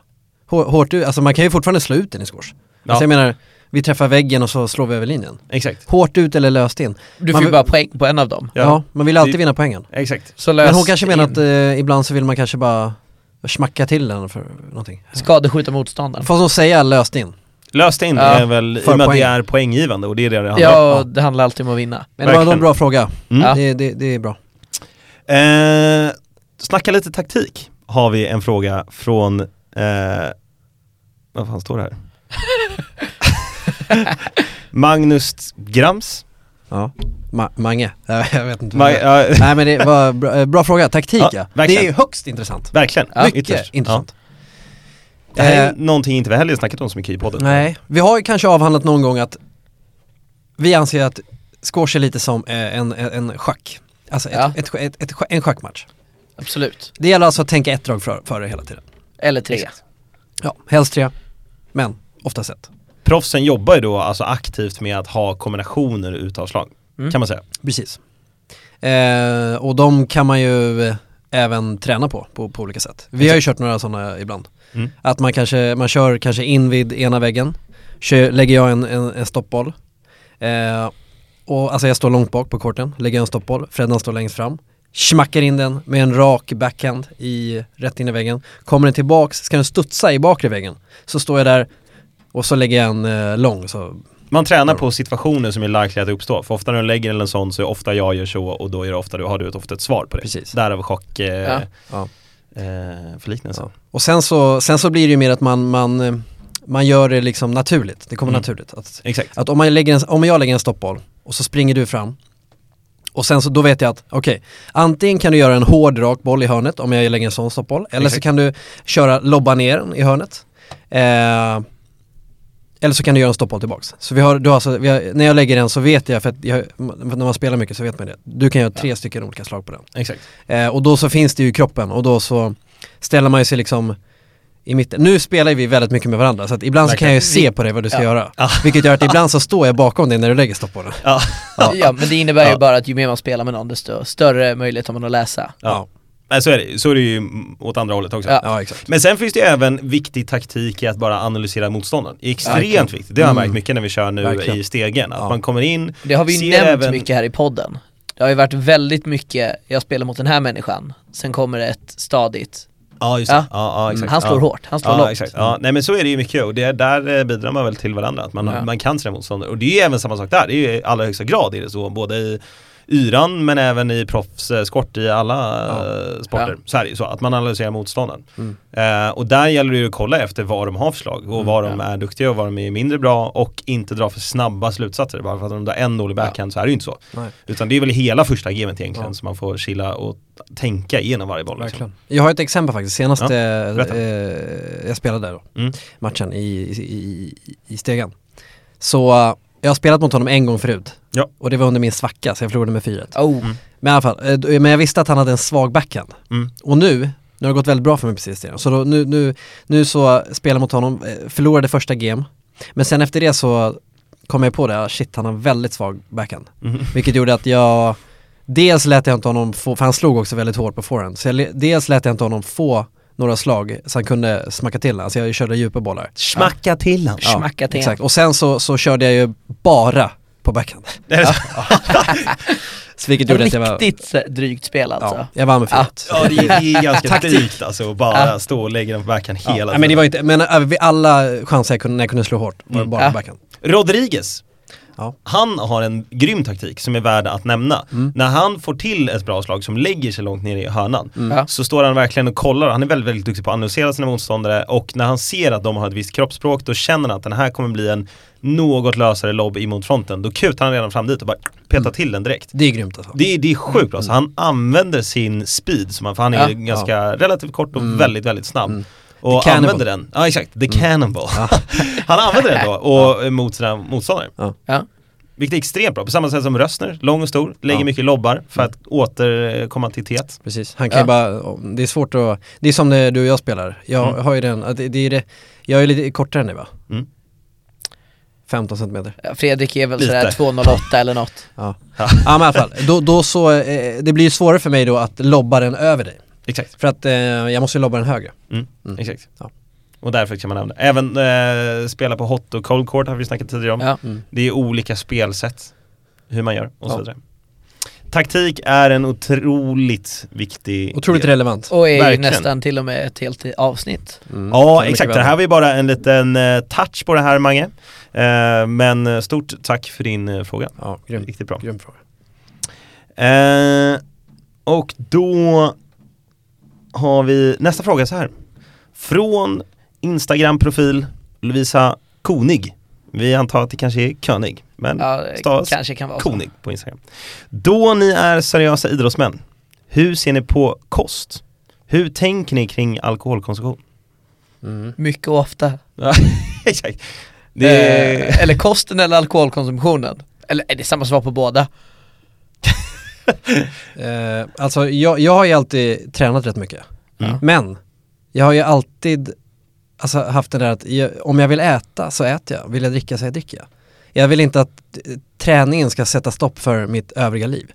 Hår- Hårt ut, alltså man kan ju fortfarande slå ut den i squash. Ja. Alltså jag menar, vi träffar väggen och så slår vi över linjen. Exakt, Hårt ut eller löst in. Du Man får ju vill- bara poäng på en av dem. Ja. Ja, man vill alltid Det- vinna poängen. exakt. Så lös Men hon kanske menar in. att eh, ibland så vill man kanske bara smacka till den för någonting. Skadeskjuta motståndaren. Får hon säga löst in? Löst in Ja, är väl, i och för med att det poäng. är poänggivande och det är det det handlar om. Ja, det handlar alltid om att vinna. Men det var Verkligen. en bra fråga. Mm. Ja. Det, det, det är bra. Eh, snacka lite taktik har vi en fråga från, eh, vad fan står det här? Magnus Grams. Ja. Ma- Mange, Ja, jag vet inte. vad Ma- det är. ja, Nej men det var bra, eh, bra fråga, taktik Ja, ja. verkligen. Det är högst intressant. verkligen, Ja. Mycket ytterst. intressant. Ja. Det här är Eh, någonting inte vi heller snackat om så mycket i podden. Nej, vi har ju kanske avhandlat någon gång att vi anser att squash är lite som eh, en, en, en schack. Alltså ett, Ja. ett, ett, ett, en schackmatch. Absolut. Det gäller alltså att tänka ett drag före före hela tiden. Eller tre. Ja, helst tre, men oftast ett. Proffsen jobbar ju då alltså aktivt med att ha kombinationer utav slag, Mm. kan man säga. Precis. Eh, och de kan man ju eh, även träna på, på, på olika sätt. Vi har ju kört några sådana ibland. Mm. Att man kanske, man kör kanske in vid ena väggen, kör, lägger jag en, en, en stoppboll. Eh, och alltså jag står långt bak på korten, lägger jag en stoppboll, Freddan står längst fram. Smackar in den med en rak backhand i, rätt in i väggen. Kommer den tillbaks, ska den studsa i bakre väggen. Så står jag där och så lägger jag en eh, lång, så Man tränar på situationer som är likely att uppstå, för ofta när du lägger en sån så är ofta jag gör så och då är det ofta du, har du ett, ofta ett svar på det. Precis. Därav chock, eh, Ja. Ja. Eh, förliknelsen. Ja. Och sen så, sen så blir det ju mer att man, man, eh, man gör det liksom naturligt, det kommer Mm. naturligt. Att, Exakt. att om, man lägger en, om jag lägger en stoppboll och så springer du fram och sen så då vet jag att, okej, antingen kan du göra en hård rak boll i hörnet om jag lägger en sån stoppboll, eller så Exakt. kan du köra, lobba ner den i hörnet. Eh, eller så kan du göra en stoppboll tillbaks. Så vi har, du har alltså, vi har, när jag lägger den så vet jag, för att jag, när man spelar mycket så vet man det, du kan göra tre stycken olika slag på den. Exakt. Eh, och då så finns det ju i kroppen och då så ställer man ju sig liksom i mitten. Nu spelar ju vi väldigt mycket med varandra så att ibland så kan jag ju se på dig vad du ska Ja. göra. Vilket gör att ibland så står jag bakom dig när du lägger stoppbollen. Ja. Ja. men det innebär Ja. ju bara att ju mer man spelar med någon desto större möjlighet har man att läsa. ja. Men så är, det, så är det ju mm, åt andra hållet också. Ja. Ja, exakt. Men sen finns det ju även viktig taktik i att bara analysera motståndaren. Det är Extremt Verkligen. viktigt. Det har jag Mm. märkt mycket när vi kör nu Verkligen. i stegen. Att Ja. man kommer in, Det har vi ju ser nämnt även... mycket här i podden. Det har ju varit väldigt mycket, jag spelar mot den här människan, sen kommer det ett stadigt, Ja, just det. Ja. Ja. Mm. Ja, exakt. han slår ja. hårt, han slår Ja, långt. exakt. Ja, nej men så är det ju mycket och det, där eh, bidrar man väl till varandra, att man, Ja. man kan sina motståndare. Och det är ju även samma sak där, det är ju i allra högsta grad är det så, både i yran men även i proffsskort i alla eh, sporter. Så här är det ju så, att man analyserar motståndaren. Mm. Eh, och där gäller det ju att kolla efter vad de har för slag och vad de är duktiga och vad de är mindre bra och inte dra för snabba slutsatser. Bara för att de drar en dålig backhand så är det ju inte så. Nej. Utan det är väl hela första gamet egentligen Ja. som man får chilla och tänka igenom varje boll. Liksom. Verkligen. Jag har ett exempel faktiskt, senast Ja, eh, berätta. eh, jag spelade där då, Mm. matchen i, i, i, i stegen. Så eh, jag har spelat mot honom en gång förut. Ja. Och det var under min svacka så jag förlorade med 4 oh, Men i alla fall, eh, d- men jag visste att han hade en svag backhand. Mm. Och nu, nu har det gått väldigt bra för mig precis det. Så då, nu, nu, nu så spelar jag mot honom, eh, förlorade första game. Men sen efter det så kom jag på det, ah, shit han har väldigt svag backhand. Mhm. Vilket gjorde att jag, dels lät jag inte honom få, för han slog också väldigt hårt på forehand. Så jag, le- dels lät jag inte honom få några slag så han kunde smacka till den. Så jag körde djupa bollar. Smacka till han. Ja, smacka till Exakt, och sen så, så körde jag ju bara på backhand. Är det så? Så vilket gjorde att jag var... Riktigt så här drygt spel alltså. Ja, jag vann med 4-1. Ja det är, det är ganska Taktik. drygt alltså att bara Ja. stå och lägga den på backhand Ja. hela Nej, men det var inte, men äh, vi- alla chanser jag kunde, när jag kunde slå hårt var Mm. bara Ja. på backhand. Rodriguez, Ja. han har en grym taktik som är värd att nämna. Mm. När han får till ett bra slag som lägger sig långt ner i hörnan Mm. Ja. så står han verkligen och kollar, han är väldigt, väldigt duktig på att analysera sina motståndare och när han ser att de har ett visst kroppsspråk då känner han att den här kommer bli en något lösare lobb i motfronten. Då kutar han redan fram dit och bara petar Mm. till den direkt. Det är grymt alltså. Det är, det är sjukt bra, så Mm. han använder sin speed, som han, för han är Ja. ju ganska relativt kort och väldigt, väldigt snabb. Mm. Och The cannibal. Mm. använder den, ja exakt, the cannonball. han använder den då, och, eh, mot sina motståndare. Ja. Vilket är extremt bra, på samma sätt som Rössner, lång och stor, lägger Ja. Mm. mycket lobbar för att återkomma till tet. Precis, han kan Ja. ju bara, det är svårt att, det är som när du och jag spelar. Jag Mm. har ju den, att det, det är det, jag är lite kortare än dig va? Mm. 15 centimeter. Ja, Fredrik är väl Lite. sådär 208 eller något. Ja, ja men i alla fall. Då, då så, eh, det blir ju svårare för mig då att lobba den över dig. Exakt, För att eh, jag måste ju lobba den högre. mm. Mm. exakt. Ja. Och därför kan man använda Även eh, spela på hot och cold court har vi snackat tidigare om. Ja. Mm. Det är olika spelsätt, hur man gör och så Ja. vidare. Taktik är en otroligt viktig Otroligt del. relevant. Och är ju Verkligen. nästan till och med ett helt avsnitt. Mm. Kan Ja, mycket exakt. väl Det här vara. var ju bara en liten eh, touch på det här Mange. Eh, men eh, stort tack för din eh, fråga. Ja, grym, Riktigt bra. grym fråga. Eh, och då har vi nästa fråga så här. Från Instagram-profil Lovisa Konig. Vi antar att det kanske är König, men Ja, alltså. det stavas kanske kan vara så. Konig på Instagram. Då ni är seriösa idrottsmän, hur ser ni på kost? Hur tänker ni kring alkoholkonsumtion? Mm. Mycket och ofta. Ja, exakt. Det är... Eh, eller kosten eller alkoholkonsumtionen. Eller är det samma svar på båda? Eh, alltså jag, jag har ju alltid tränat rätt mycket. Mm. Men jag har ju alltid alltså, haft det där att jag, om jag vill äta så äter jag, vill jag dricka så dricker jag. Jag vill inte att eh, träningen ska sätta stopp för mitt övriga liv.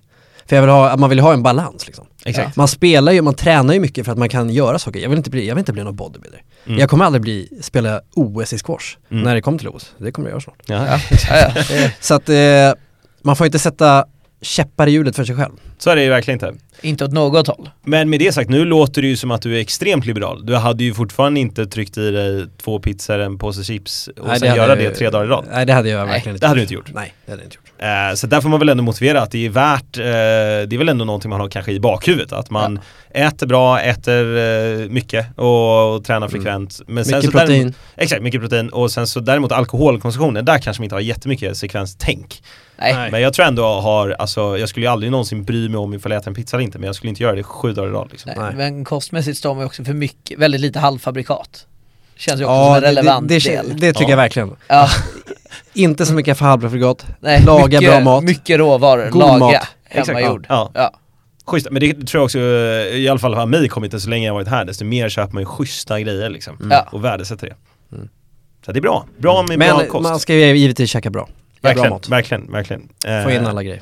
För jag vill ha, man vill ju ha en balans liksom. Exakt. Man spelar ju, man tränar ju mycket för att man kan göra saker. Jag vill inte bli, jag vill inte bli någon bodybuilder. Mm. Jag kommer aldrig bli, spela OS i squash Mm. när det kommer till OS. Det kommer jag göra snart. Ja. Ja, ja. Det är Så att eh, man får inte sätta käppar i hjulet för sig själv. Så är det ju verkligen inte. inte åt något håll. Men med det sagt, nu låter det ju som att du är extremt liberal. Du hade ju fortfarande inte tryckt i dig två pizzor, en påse chips och sen hade göra jag ju- det tre dagar i rad. Nej det hade jag Nej. verkligen inte Det hade du inte gjort. Nej, det hade jag inte gjort. Eh, så där får man väl ändå motivera att det är värt, eh, det är väl ändå någonting man har kanske i bakhuvudet. Att man äter bra, äter eh, mycket och, och tränar frekvent. Men sen Mm. Mycket så däremot- protein. Exakt, mycket protein. Och sen så däremot alkoholkonsumtionen, där kanske man inte har jättemycket sekvenstänk. Nej. Nej. Men jag tror ändå jag har, alltså jag skulle ju aldrig någonsin bry mig om ifall jag äter en pizza eller inte, men jag skulle inte göra det sju dagar i rad liksom. Nej. Nej. Men kostmässigt står man ju också för mycket, väldigt lite halvfabrikat. Känns ju också som Ja, en det, relevant det, det, del. det tycker Ja. jag verkligen. ja, Inte så mycket för halvfabrikat, nej, laga mycket, bra mat. Mycket råvaror, God laga, mat. hemmagjord. Ja. Ja. Schysst, men det tror jag också, eh, i alla fall har mig kommit det så länge jag har varit här, desto mer köper man ju schyssta grejer liksom. Mm. Ja. Och värdesätter det. Så det är bra, bra med bra Men kost. man ska ju givetvis käka bra. Göra Bra verkligen, mat. verkligen, verkligen. Eh, Få in alla grejer.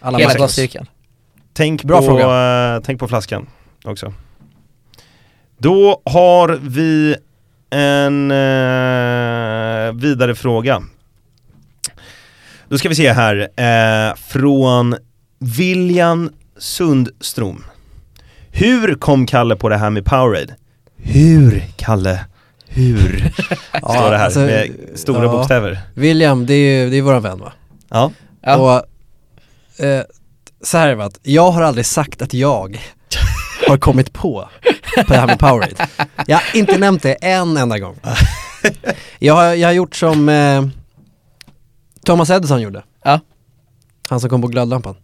Alla Hela matcher. glasstyrkan. Tänk, Bra på, eh, tänk på flaskan också. Då har vi en eh, vidare fråga. Då ska vi se här, eh, från William Sundström. Hur kom Kalle på det här med Powerade? Hur, Kalle? Hur? Ja, Står det här alltså, med stora ja. bokstäver. William, det är ju det är våran vän va? Ja. Ja. Och, eh, så här är det va, att jag har aldrig sagt att jag har kommit på, på det här med Powerade. Jag har inte nämnt det en enda gång. Jag har, jag har gjort som eh, Thomas Edison gjorde. Ja. Han som kom på glödlampan.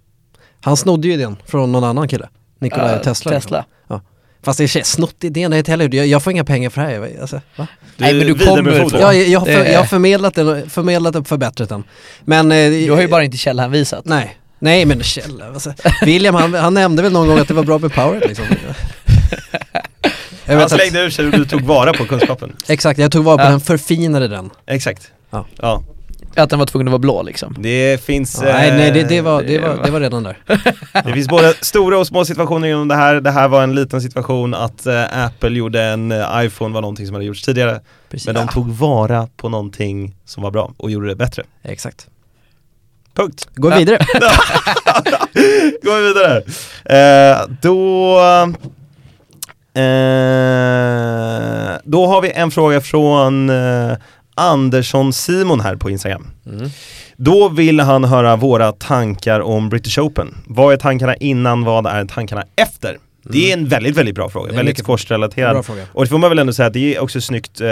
Han snodde ju idén från någon annan kille, Nikola Ja, Tesla. liksom. Tesla. Fast det är snott idén, det är inte heller, jag, jag får inga pengar för det här. jag- Alltså, va? Nej, men du kommer vidarebefordrar. Så. Jag, jag, har för, Det- jag har förmedlat den, och- förmedlat och förbättrat den. Men... eh, Du har ju bara inte källhänvisat. Nej, nej men Kjell, alltså, William han, han nämnde väl någon gång att det var bra med power liksom. Jag Han vet att, slängde ur sig och du tog vara på kunskapen. exakt, jag tog vara på Ja. den, förfinade den. Exakt. Ja. ja. Att den var tvungen att vara blå liksom. Det finns... Ja, nej, eh, nej det, det, var, det, det var, var- det var redan där. Det finns både stora och små situationer inom det här. Det här var en liten situation att eh, Apple gjorde en eh, iPhone var någonting som hade gjorts tidigare. Precis. Men de Ja, tog vara på någonting som var bra och gjorde det bättre. exakt. Punkt. Gå vidare. Går vi vidare. Eh, då... Eh, då har vi en fråga från eh, Andersson Simon här på Instagram. Mm. Då vill han höra våra tankar om British Open. Vad är tankarna innan, vad är tankarna efter? Det Mm. är en väldigt, väldigt bra fråga. Det är Väldigt mycket- sportsrelaterad. Bra fråga. Och det får man väl ändå säga att det är också snyggt eh,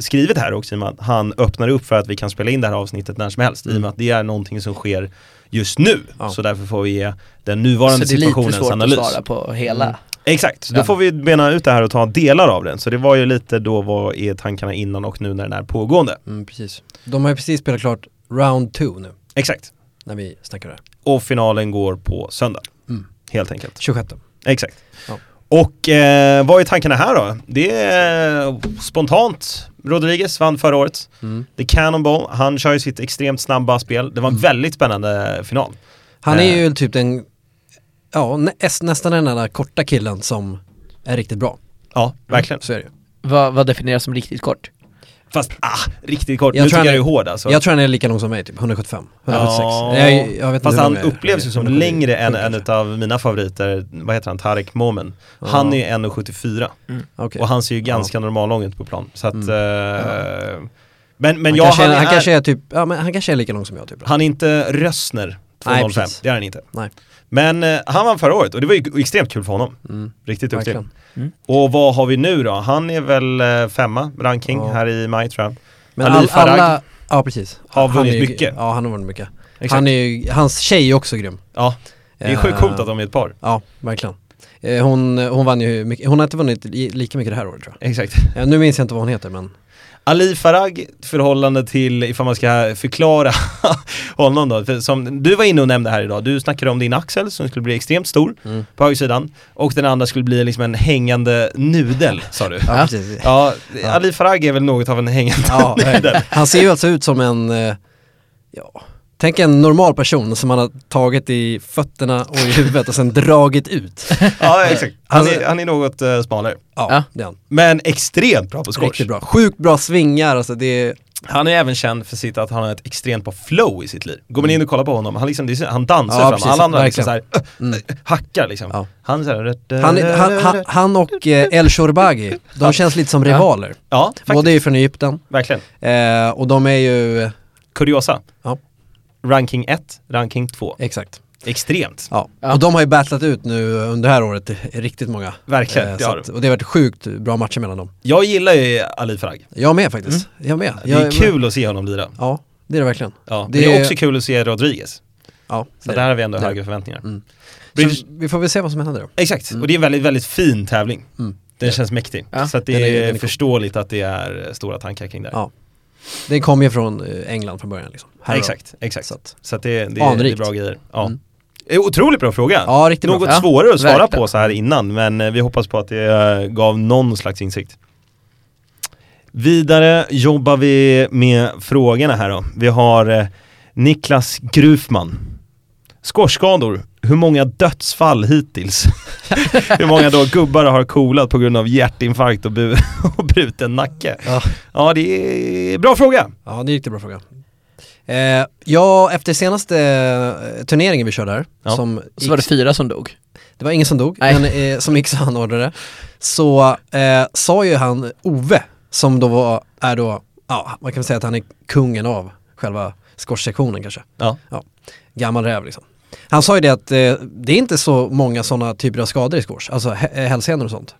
skrivet här också i och med att han öppnar upp för att vi kan spela in det här avsnittet när som helst i och Mm. med att det är någonting som sker just nu. Ja. Så därför får vi ge den Så nuvarande det är lite situationens svårt analys. att svara på hela. Mm. Exakt, så Ja. då får vi bena ut det här och ta delar av den. Så det var ju lite då vad är tankarna innan och nu när den är pågående. Mm, precis. De har ju precis spelat klart round two nu, Exakt. när vi snackar det här. Och finalen går på söndag. Mm. Helt enkelt. 26. Exakt. Ja. Och eh, vad är tankarna här då? Det är eh, spontant. Rodriguez vann förra året. Mm. The Cannonball, han kör ju sitt extremt snabba spel. Det var en väldigt spännande final. Han Eh. är ju typ den, ja nä- es- nästan den enda korta killen som är riktigt bra. Mm. Ja, verkligen. Så är det ju. Vad, vad definieras som riktigt kort? Fast ah, riktigt kort. Jag nu tycker tror han jag är- är hård alltså. Jag tror han är lika lång som mig, typ 175, 176. Ja. Jag, jag vet inte Fast hur han lång jag är. upplevs ju som 177, längre än en kanske. utav mina favoriter, vad heter han, Tarek Momen. Han är ju 1,74 Okej. Mm. och han ser ju ganska normallång ut på plan. Så att, eh, men, men Han, jag, kanske, han, är, han är, kanske är typ, ja men han kanske är lika lång som jag typ. han är inte Rössner 2,05, Nej, precis. det är han inte. Nej. Men eh, han vann förra året och det var ju extremt kul för honom. Mm. Riktigt duktig. Verkligen. Och vad har vi nu då? Han är väl eh, femma ranking Ja. här i maj tror jag. Men Ali all, Farag alla, ja precis. har Han är vunnit ju- mycket. Ja han har vunnit mycket. Exakt. Han är ju, hans tjej är också grym. Ja, det är sjukt Eh, coolt att de är ett par. Ja, verkligen. Eh, Hon, hon vann ju mycket, hon har inte vunnit li- lika mycket det här året tror Exakt. jag. Eh, Nu minns jag inte vad hon heter men Ali Farag förhållande till, ifall man ska förklara honom då, för som du var inne och nämnde här idag, du snackade om din axel som skulle bli extremt stor Mm. på högersidan och den andra skulle bli liksom en hängande nudel sa du. Ja, precis. Ja, Ja. Ali Farag är väl något av en hängande Ja, nudel. han ser ju alltså ut som en, eh, ja, tänk en normal person som man har tagit i fötterna och i huvudet och sen dragit ut. Ja, exakt. Han Alltså- är, han är något eh, smalare. Ja, Ja. det är han. Men extremt bra på squash. Riktigt bra. Sjukt bra svingar, alltså det är, Han är även känd för sitt att han har ett extremt bra flow i sitt liv. Går man in och kollar på honom, han, liksom, det är så- han dansar Ja, fram, precis. alla andra liksom så här, Verkligen. Mm. äh, äh, hackar liksom. Ja. Han är så här, han, är- han, han, han och eh, El Shorbagi, de känns lite som rivaler. Ja, faktiskt, Båda är ju från Egypten verkligen. eh, och de är ju, Kuriosa. Ja. Ranking 1, ranking 2. exakt. Extremt. Ja. Ja. och de har ju battlat ut nu under det här året eh, riktigt många. Verkligen, Eh, det så har att, och det har varit sjukt bra matcher mellan dem. Jag gillar ju Ali Farag. Jag med faktiskt, jag med. Mm. Det jag, är kul att se honom lira. Ja, det är det verkligen. Ja. Det Det, det är är- också kul att se Rodriguez. Ja, Så det är där har vi ändå Det är höga förväntningar. Mm. British- Så vi får väl se vad som händer då. Exakt, och det är en väldigt, väldigt fin tävling. Mm. Den känns mäktig. Ja, Så att den är- det den är är cool. förståeligt att det är eh, stora tankar kring det. här. Ja, Den kom ju från eh, England från början liksom. Här och då. exakt, exakt. Så Så, att, att det, det, är- det är Anrikt. bra grejer. Ja. Mm. Eh, Otroligt bra fråga. ja, riktigt Något bra. Ja, svårare att svara verkligen. på så här innan, men eh, vi hoppas på att det eh, gav någon slags insikt. Vidare jobbar vi med frågorna här då. Vi har eh, Niklas Grufman. Skorskador, hur många dödsfall hittills? hur många då gubbar har kolat på grund av hjärtinfarkt och, bu- och bruten nacke? Ja. Ja, det är bra fråga. Ja, ja det är en riktigt bra fråga. Eh, ja, efter senaste eh, turneringen vi körde här, Ja. som Så var det fyra som dog. Det var ingen som dog, Nej. men eh, som Ixo anordnade. Så eh, sa ju han Ove, som då var, är då, ja man kan säga att han är kungen av själva squashsektionen kanske. Ja. Gammal räv liksom. Han sa ju det att eh, det är inte så många sådana typer av skador i squash, alltså hä- eh, hälsenor och sånt.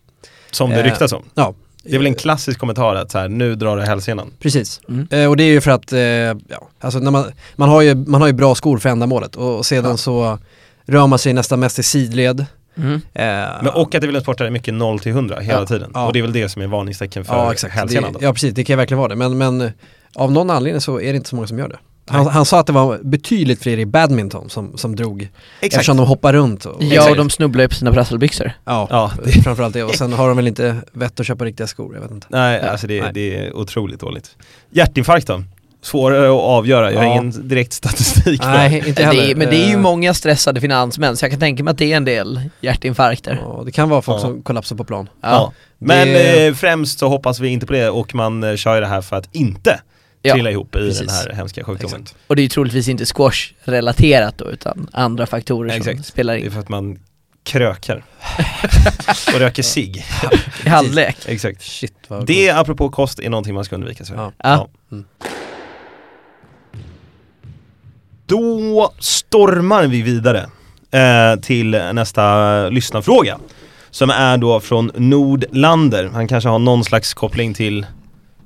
Som det Eh, ryktas om. Ja, Det är väl en klassisk kommentar att så här, nu drar det hälsenan. precis. Mm. Eh, och det är ju för att, eh, ja, alltså när man, man, har ju, man har ju bra skor för ändamålet och, och sedan så rör man sig nästan mest i sidled. Eh, Men och att det är väl en sport där det är mycket 0 till 100 hela Ja, tiden. ja. Och det är väl det som är varningstecken för Ja exakt, det, hälsenan. då. ja precis, det kan ju verkligen vara det. Men, men eh, av någon anledning så är det inte så många som gör det. Han, han sa att det var betydligt fler i badminton som, som drog, Exakt. eftersom de hoppar runt. Och, Ja, och de snubblar ju på sina prasselbyxor. ja, Ja, det, framförallt det. Och sen har de väl inte vett att köpa riktiga skor, jag vet inte. nej, alltså det, Nej. det är otroligt dåligt. Hjärtinfarkt då? Svårare att avgöra, jag har Ja. ingen direkt statistik på det. Nej, inte heller. Det är, men det är ju Eh, många stressade finansmän, så jag kan tänka mig att det är en del hjärtinfarkter. ja, det kan vara folk Ja. som kollapsar på plan. Ja. Men Det- eh, främst så hoppas vi inte på det och man eh, kör ju det här för att inte Ja, trilla ihop i den precis. här hemska sjukdomen. Exakt. Och det är ju troligtvis inte squash-relaterat då, utan andra faktorer som Exakt. spelar Det är in. för att man krökar och röker cigg. I halvlek. Exakt. Shit vad Det apropå kost är någonting man ska undvika. Så. Ja. Ja. Då stormar vi vidare eh, till nästa lyssnarfråga. Som är då från Nordlander. Han kanske har någon slags koppling till,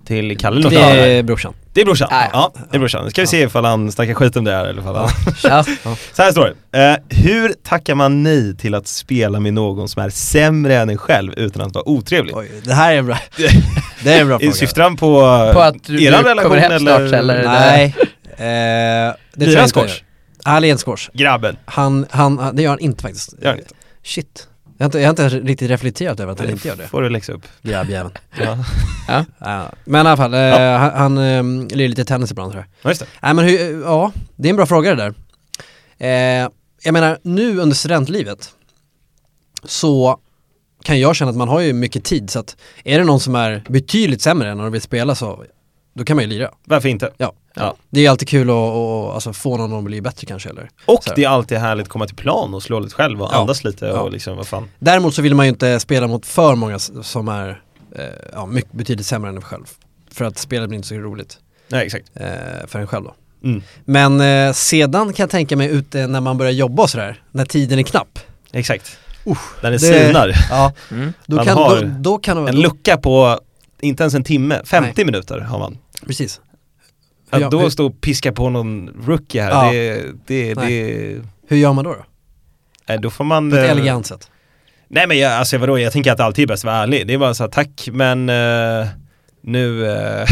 till Kalle eller något Det annat där. är brorsan. det är brorsan. Ah, ja, det är brorsan. Nu ska vi se ifall han snackar skit om det här eller ifall han... Ja. Så här står det. Eh, hur tackar man nej till att spela med någon som är sämre än en själv utan att vara otrevlig? Oj, det här är en bra. det är en bra fråga. Syftar han på, På att du- eran du relation kommer hem snart, eller? Nej. Eh, det Lirar tror jag han inte squash? Han är en squash. Grabben, Han, han, han, det gör han inte faktiskt. gör han inte? Shit. Jag har inte, jag har inte riktigt reflekterat över att han inte gör det. får du läxa upp. Grabbjäveln. Ja, Ja. Men i alla fall, eh, han, han ehm, lirar lite tennis ibland tror jag. ja just det. Nej men hur, ja, det är en bra fråga det där. Eh, jag menar, nu under studentlivet så kan jag känna att man har ju mycket tid så att är det någon som är betydligt sämre än när de vill spela så då kan man ju lira. Varför inte? Ja. Ja. Det är ju alltid kul att, att alltså, få någon att bli bättre kanske eller. Och Så här. det är alltid härligt att komma till plan och slå lite själv och Ja. andas lite och Ja. liksom vad fan. Däremot så vill man ju inte spela mot för många s- som är eh, ja, mycket, betydligt sämre än en själv. För att spelet blir inte så roligt Nej exakt. eh, för en själv då. Mm. Men eh, sedan kan jag tänka mig ute när man börjar jobba och sådär, när tiden är knapp. Exakt. Usch, När det sinar. Ja, Mm. då Man kan, har då, då kan En lucka på inte ens en timme, 50 Nej. minuter har man. Precis. Att Ja, då hur- stå och piska på någon rookie här, Ja. det, det, Nej. det, Hur gör man då? då? nej, då får man... På ett eh, elegant sätt. Nej men jag, alltså vadå, jag tänker att det alltid är bäst att vara ärlig. Det är bara så här, tack men eh, nu, eh,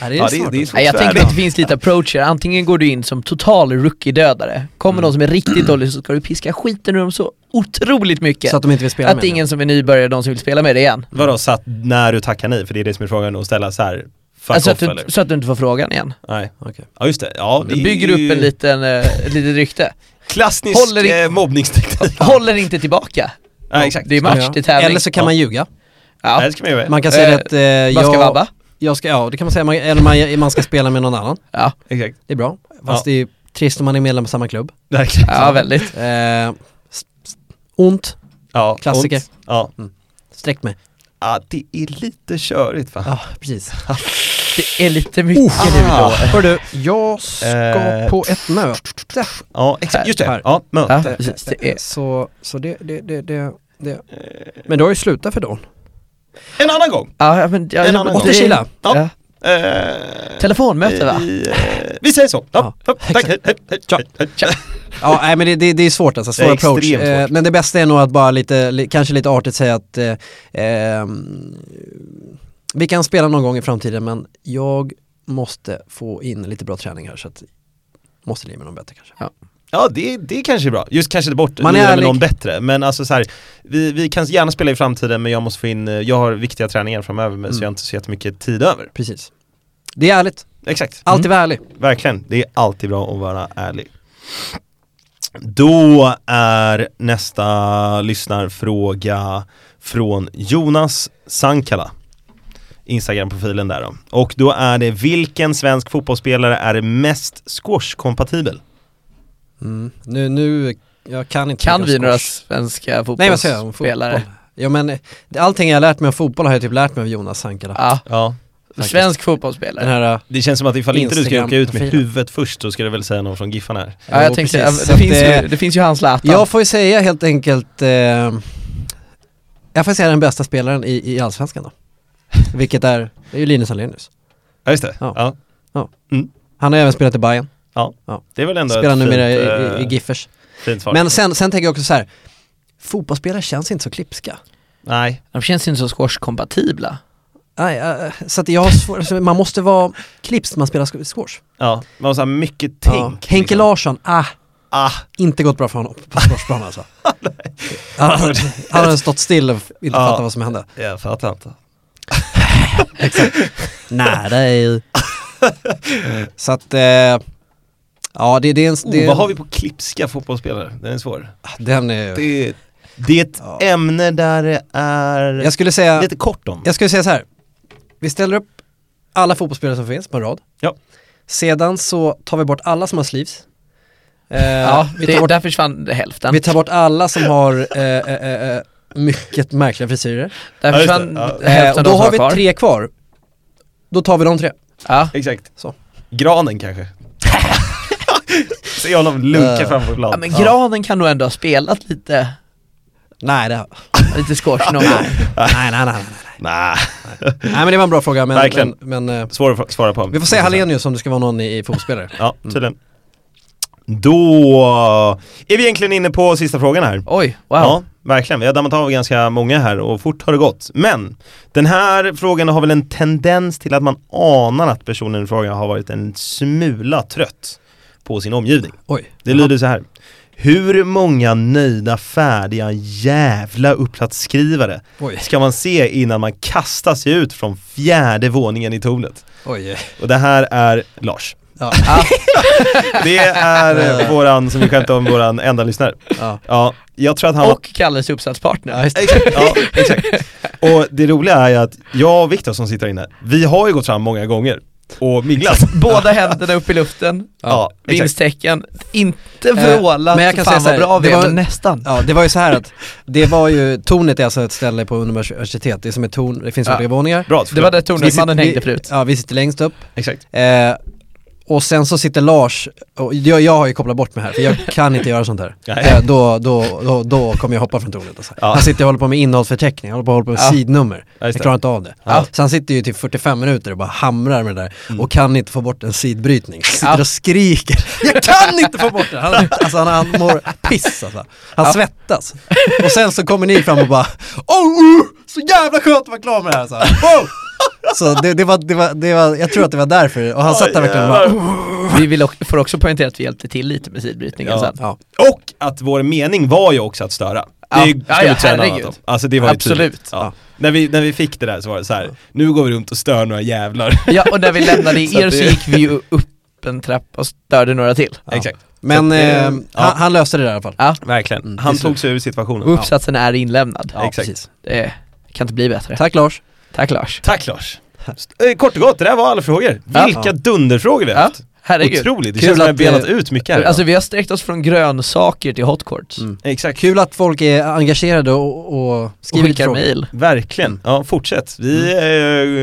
Ja, det är ja, smart. det är svårt Nej, jag att vara tänker ärlig. att det finns lite approacher, antingen går du in som total rookie-dödare, kommer Mm. någon som är riktigt dålig så ska du piska skiten ur dem så otroligt mycket så att de inte vill spela att med ingen som är nybörjare är de som vill spela med dig igen. Vadå, så att när du tackar nej, för det är det som är frågan, att ställa så här, fuck Alltså att off du, eller? så att du inte får frågan igen. Nej. den. Okej. Ja just det, ja det Du bygger är upp ju en liten, eh, ett litet rykte. klassisk håller i- eh, mobbningsteknik. Håller inte tillbaka. Ja exakt. Det är match, det är tävling. Eller så kan Ja. man ljuga. Nej Ja. det ska man göra. Man kan säga Eh, att eh, Man ska jag, vabba. jag ska, ja det kan man säga, man, eller man, man ska spela med någon annan. Ja, Exakt. Det är bra. Fast Ja. det är trist om man är medlem i samma klubb. Ja, exakt. ja väldigt. Eh, s- s- ont, Ja, Klassiker. ont. Ja. sträck mig. ja, det är lite körigt fan. Ja, precis. Det är lite mycket nu då. Ah. Hör du, jag ska Eh. på ett möte. Ja exakt, just det. Här. Ja, Ja, möte. precis. Det är, Så, så det, det, det, det, det. Men du har ju slutat för dagen. En annan gång. ja, men, ja, En ja, annan men gång. det- 80 kilo. Ja. Ja. Eh, Telefonmöte va? Vi, eh, vi säger så. Ja, Ja, tack, hej, hej, hej, Tja. hej, hej. Ja, nej men det, det, det är svårt alltså, svår Det är approach. extremt Eh, svårt. men det bästa är nog att bara lite, li, kanske lite artigt säga att eh, ehm, vi kan spela någon gång i framtiden men jag måste få in lite bra träning här så att måste lira med någon bättre kanske. Ja det, det kanske är bra, just kanske inte bort Man är lira med ärlig. någon bättre men alltså så här, vi, vi kan gärna spela i framtiden men jag måste få in, eh, jag har viktiga träningar framöver men så Mm. jag har inte så jättemycket tid över. Precis. Det är ärligt, Exakt, alltid Mm. vara ärlig. verkligen. Det är alltid bra att vara ärlig. Då är nästa lyssnarfråga från Jonas Sankala Instagram-profilen där då. Och då är det vilken svensk fotbollsspelare är mest squash-kompatibel? Mm. Nu, nu, jag kan inte Kan mycket om vi några squash. svenska Nej vad säger jag om fotbollsspelare? fotboll? Ja men eh, allting jag har lärt mig om fotboll har jag typ lärt mig av Jonas Sankala. Ja, Ja, Faktiskt. svensk Den fotbollsspelare. här, eh, Det känns som att ifall inte du ska åka ut med Instagram-profilen. huvudet först så ska du väl säga någon från Giffarna här. Ja, jag jo, tänkte, precis. ja, Så det, att, finns eh, ju, det finns ju han Zlatan. Jag får ju säga helt enkelt eh, Jag får säga den bästa spelaren i, i Allsvenskan då Vilket är, det är ju Linus Alenius Ja just det, ja. Ja. Han har även spelat i Bayern, Det är väl ändå spelar ett numera i, fint, i, i eh, Giffers fint svar. Men sen, sen tänker jag också så här. Fotbollsspelare känns inte så klipska Nej, De känns inte så squash-kompatibla. Nej, eh, så att jag har svår, så man måste vara klipsk när man spelar sk- squash ja, man har så här mycket tänk. ja. liksom. Henke Larsson, ah, Ah, inte gått bra för honom på squashbanan alltså Han hade- han hade stått still och inte Ja. fattat vad som hände jag fattar inte. Nära dig. så att, eh, ja det, det är en... Oh, det, är- vad har vi på klipska fotbollsspelare? Den är svår. Den är, Det är, det är ett Ja. ämne där det är jag skulle säga, lite kort om. jag skulle säga så här. Vi ställer upp alla fotbollsspelare som finns på en rad. Ja. Sedan så tar vi bort alla som har sleeves. Eh, Ja, vi, det, tar bort, där försvann det hälften. vi tar bort alla som har eh, eh, eh, eh, mycket märkliga frisyrer. Där Ja, just försvann det. Ja. Eh, hälften och av de då som har var vi kvar. tre kvar. Då tar vi de tre. Ja. Exakt. Så. Granen kanske. Ser jag honom lunka Eh. framför plan. ja, men granen kan nog ändå ha spelat lite, Nej, det, lite squash någon gång. nej, nej, nej, nej, nej. Nah. Nej men det var en bra fråga men, Verkligen. men, men eh, Svår att svara på. vi får säga Mm. Hallenius om det ska vara någon i, i fotbollsspelare. Ja, tydligen. Då är vi egentligen inne på sista frågan här. Oj, wow. Ja, verkligen. Vi har dammat av ganska många här och fort har det gått. Men den här frågan har väl en tendens till att man anar att personen i fråga har varit en smula trött på sin omgivning. Oj. Det lyder så här. Hur många nöjda, färdiga, jävla upplatsskrivare Oj, ska man se innan man kastar sig ut från fjärde våningen i tornet? oj. eh, Och det här är Lars. Ja, Det är eh, våran, som vi skämtade om, våran enda lyssnare. ja. Ja, jag tror att han Och Kalles uppsatspartner. ja just det. Exakt, ja, exakt. Och det roliga är ju att jag och Viktor som sitter här inne, vi har ju gått fram många gånger och minglat. Båda händerna upp i luften, Ja, exakt. vinsttecken, inte Eh, vrålat, men jag kan fan säga så vad här, bra vi det är, var- men nästan. Ja, det var ju så här att det var ju, tornet är alltså ett ställe på universitet, det är som ett torn, det finns Ja. olika våningar. Bra, Det var där Så vi Tornedmannen sit- hängde vi- förut. Ja, vi sitter längst upp. Exakt. Eh, och sen så sitter Lars, och jag, jag har ju kopplat bort mig här för jag kan inte göra sånt här. Nej. Eh, då, då, då, då kommer jag hoppa från tornet alltså. Ja. Han sitter och håller på med innehållsförteckning, håller på, håller på med Ja. sidnummer. Ja, Jag just det. klarar inte av det. Ja. Mm. Så han sitter ju typ 45 minuter och bara hamrar med det där och kan inte få bort en sidbrytning. Sitter Ja. och skriker, jag kan inte få bort det! Han, alltså, han, han mår piss alltså. Han svettas. Och sen så kommer ni fram och bara, oh, uh, så jävla skönt att vara klar med det här! Så, här. Wow! så det, det, var, det, var, det var, jag tror att det var därför, och han satt där verkligen och bara, Vi vill också, får också poängtera att vi hjälpte till lite med sidbrytningen Ja. sen. Ja. Och att vår mening var ju också att störa. Ja. Det ska Ja, ja, vi träna annat herregud. om. Alltså det var ju Absolut. tydligt. Ja. Ja. När, vi, när vi fick det där så var det så här. nu går vi runt och stör några jävlar. Ja, och när vi lämnade Så er att så det- gick vi ju upp en trappa och störde några till. Exakt. Men Så att det- eh, ja. han, han löste det där i alla fall. Ja, Verkligen. Mm, Han till tog sig ur situationen. och uppsatsen är inlämnad. Ja, exakt. precis. Det kan inte bli bättre. Tack Lars. Tack Lars. Tack Lars. Eh, Kort och gott, det där var alla frågor. Ja. Vilka dunderfrågor vi har Ja, haft. herregud. Otroligt, det Kul känns som att jag att, eh, benat ut mycket här. Alltså vi har sträckt oss från grönsaker till hotcourts. Mm. Exakt. Kul att folk är engagerade och, och Och skriver lite skickar frågor. mejl. Verkligen. Ja, fortsätt. Vi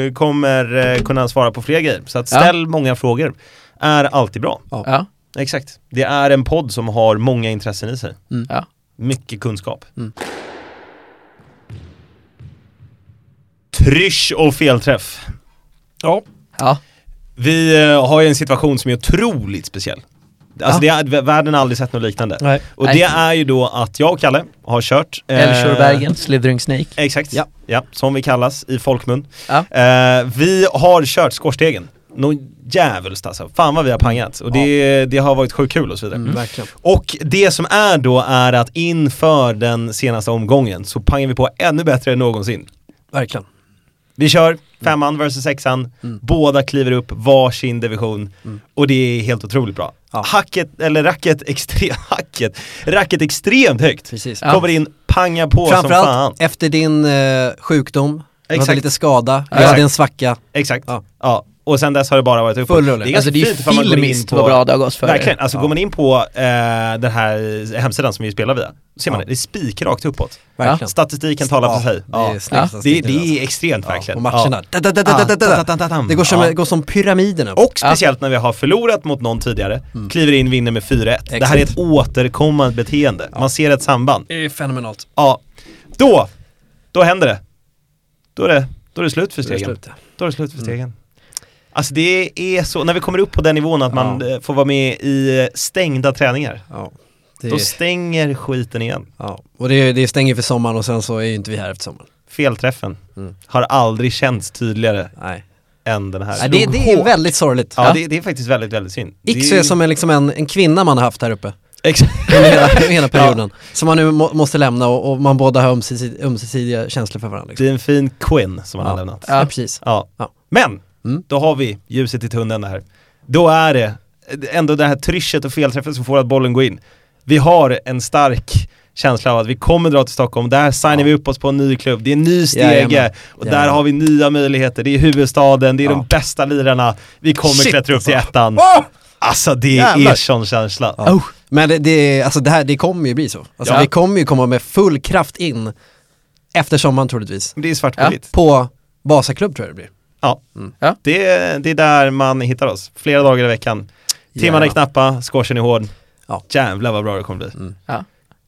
eh, kommer eh, kunna svara på fler grejer. Så att Ja. ställ många frågor. Är alltid bra. Ja. Exakt. Det är en podd som har många intressen i sig. Mm. Ja. Mycket kunskap. Mm. Trysch och felträff. Ja. ja. Vi eh, har ju en situation som är otroligt speciell. Alltså det är, världen har aldrig sett något liknande. Nej. Och Nej. det är ju då att jag och Kalle har kört eh, Älvsjöbergen, Slithering Snake. Exakt, ja. Ja. som vi kallas i folkmun. Ja. Eh, vi har kört skorstegen. Någon djävulskt alltså. Fan vad vi har pangat. Och det, det har varit sjukt kul och så vidare. Mm, Verkligen. Och det som är då är att inför den senaste omgången så pangar vi på ännu bättre än någonsin. Verkligen. Vi kör femman Mm. versus sexan, båda kliver upp varsin division och det är helt otroligt bra. Mm. Ja. Hacket, eller racket, extremt, hacket, racket extremt högt. Precis. Ja. Kommer in, pangar på som fan. Framförallt efter din eh, sjukdom, du Exakt. hade lite skada, jag Exakt. hade en svacka. Exakt. Ja. Ja. Och sen dess har det bara varit uppåt. Full rulle. Det är ganska Alltså det är ju fint ifall man går in filmiskt på- vad bra det har gått för er. Verkligen. Alltså Ja. går man in på eh, den här hemsidan som vi spelar via, då ser man Ja. det. Det är spikrakt uppåt. Verkligen. Statistiken talar för sig. Ja. Det är snygg Ja. Det, statistik det alltså. är extremt verkligen. Ah, Och matcherna. Da, da, da, da, da, da, da. Ja. Det går som, Ja. går som pyramiderna. Och speciellt när vi har förlorat mot någon tidigare, kliver in, vinner med 4-1. Det här är ett Mm. Exakt. återkommande beteende. Man ser ett samband. det är fenomenalt. Ja. Då, då händer det. Då är det, då är det slut för Det är stegen. slut. Då är det slut för stegen. Mm. Alltså det är så, när vi kommer upp på den nivån att man Ja. eh, får vara med i eh, stängda träningar, Ja. Det, då stänger skiten igen. ja. Och det, det stänger för sommaren och sen så är ju inte vi här efter sommaren. Felträffen Mm. har aldrig känts tydligare Nej. än den här. Nej, det, det är väldigt sorgligt. Ja, det, det är faktiskt väldigt, väldigt synd. Iksu Det är som en, liksom en, en kvinna man har haft här uppe. Exakt. under hela, hela perioden. Som man nu må, måste lämna och, och man båda har ömsesidiga, ömsesidiga känslor för varandra. Liksom. Det är en fin Quinn som han Ja. har lämnat. Ja, precis. Ja. Ja. Men, Mm. då har vi ljuset i tunneln här. Då är det ändå det här tryschet och felträffen som får att bollen går in. Vi har en stark känsla av att vi kommer dra till Stockholm, där signar Ja. vi upp oss på en ny klubb, det är en ny stege Jajamän. och där Jajamän. har vi nya möjligheter, det är huvudstaden, det är de Ja. bästa lirarna, vi kommer Shit, klättra upp till alltså. ettan. Wow! Alltså det är Jävlar. sån känsla. Ja. Men det, det, alltså det här, det kommer ju bli så. Alltså Ja. vi kommer ju komma med full kraft in efter sommaren troligtvis. Men Det är svart på vitt. På Basaklubb tror jag det blir. Ja. Mm. Ja. Det, är- det är där man hittar oss, flera dagar i veckan. Timmarna är Gärna. knappa, squashen är hård. Ja. Mm. Jävlar vad bra det kommer bli. Ja.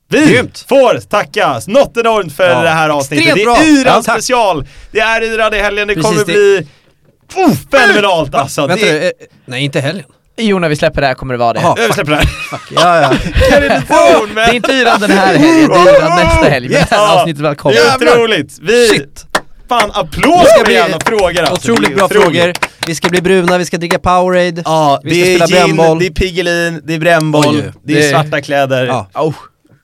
Vi Grymt. får tacka något enormt för Ja. det här avsnittet. Extremt Det bra. är Yran Ja, tack. special. Det är Yran i helgen, det Precis, kommer det- bli oh, fenomenalt alltså. Vänta det... nu, eh, nej inte helgen. Jo, när vi släpper det här kommer det vara det. Jaha. Jag släpper det här. Fuck, ja ja. Kan vi inte tro, Det men- är inte Yran den här helgen, det är Yran nästa helg. Men Yes. det här avsnittet Det välkommen. är otroligt. Vi... Shit. Fan applåd Det ska för bli jävla frågor alltså. Det Otroligt är bra otroligt. frågor. Vi ska bli bruna, vi ska dricka Powerade. Ja, Vi ska det är spela gin, brännboll. det är Piggelin, det är brännboll, Oj, det är det- svarta kläder. Ja, Oh,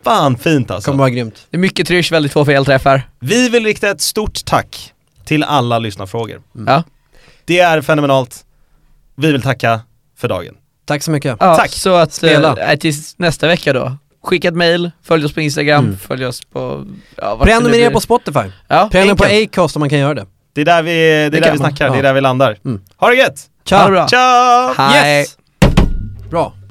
Fan fint alltså. kommer vara grymt. det är mycket trysch, väldigt få felträffar. Vi vill rikta ett stort tack till alla lyssnarfrågor. Ja. Det är fenomenalt. Vi vill tacka för dagen. Tack så mycket. Ja, Tack. Så att, Spela. eh, tills nästa vecka då. Skicka ett mail, följ oss på Instagram, Mm. följ oss på... Ja, vart det nu Prenumerera blir. på Spotify. Ja, Prenumerera på enkelt. Acast om man kan göra det. Det är där vi, det är där kan vi man. snackar, Ja. det är där vi landar. Mm. Ha det gött! Ciao. Ha det bra. Ciao! Hej! Yes! Bra.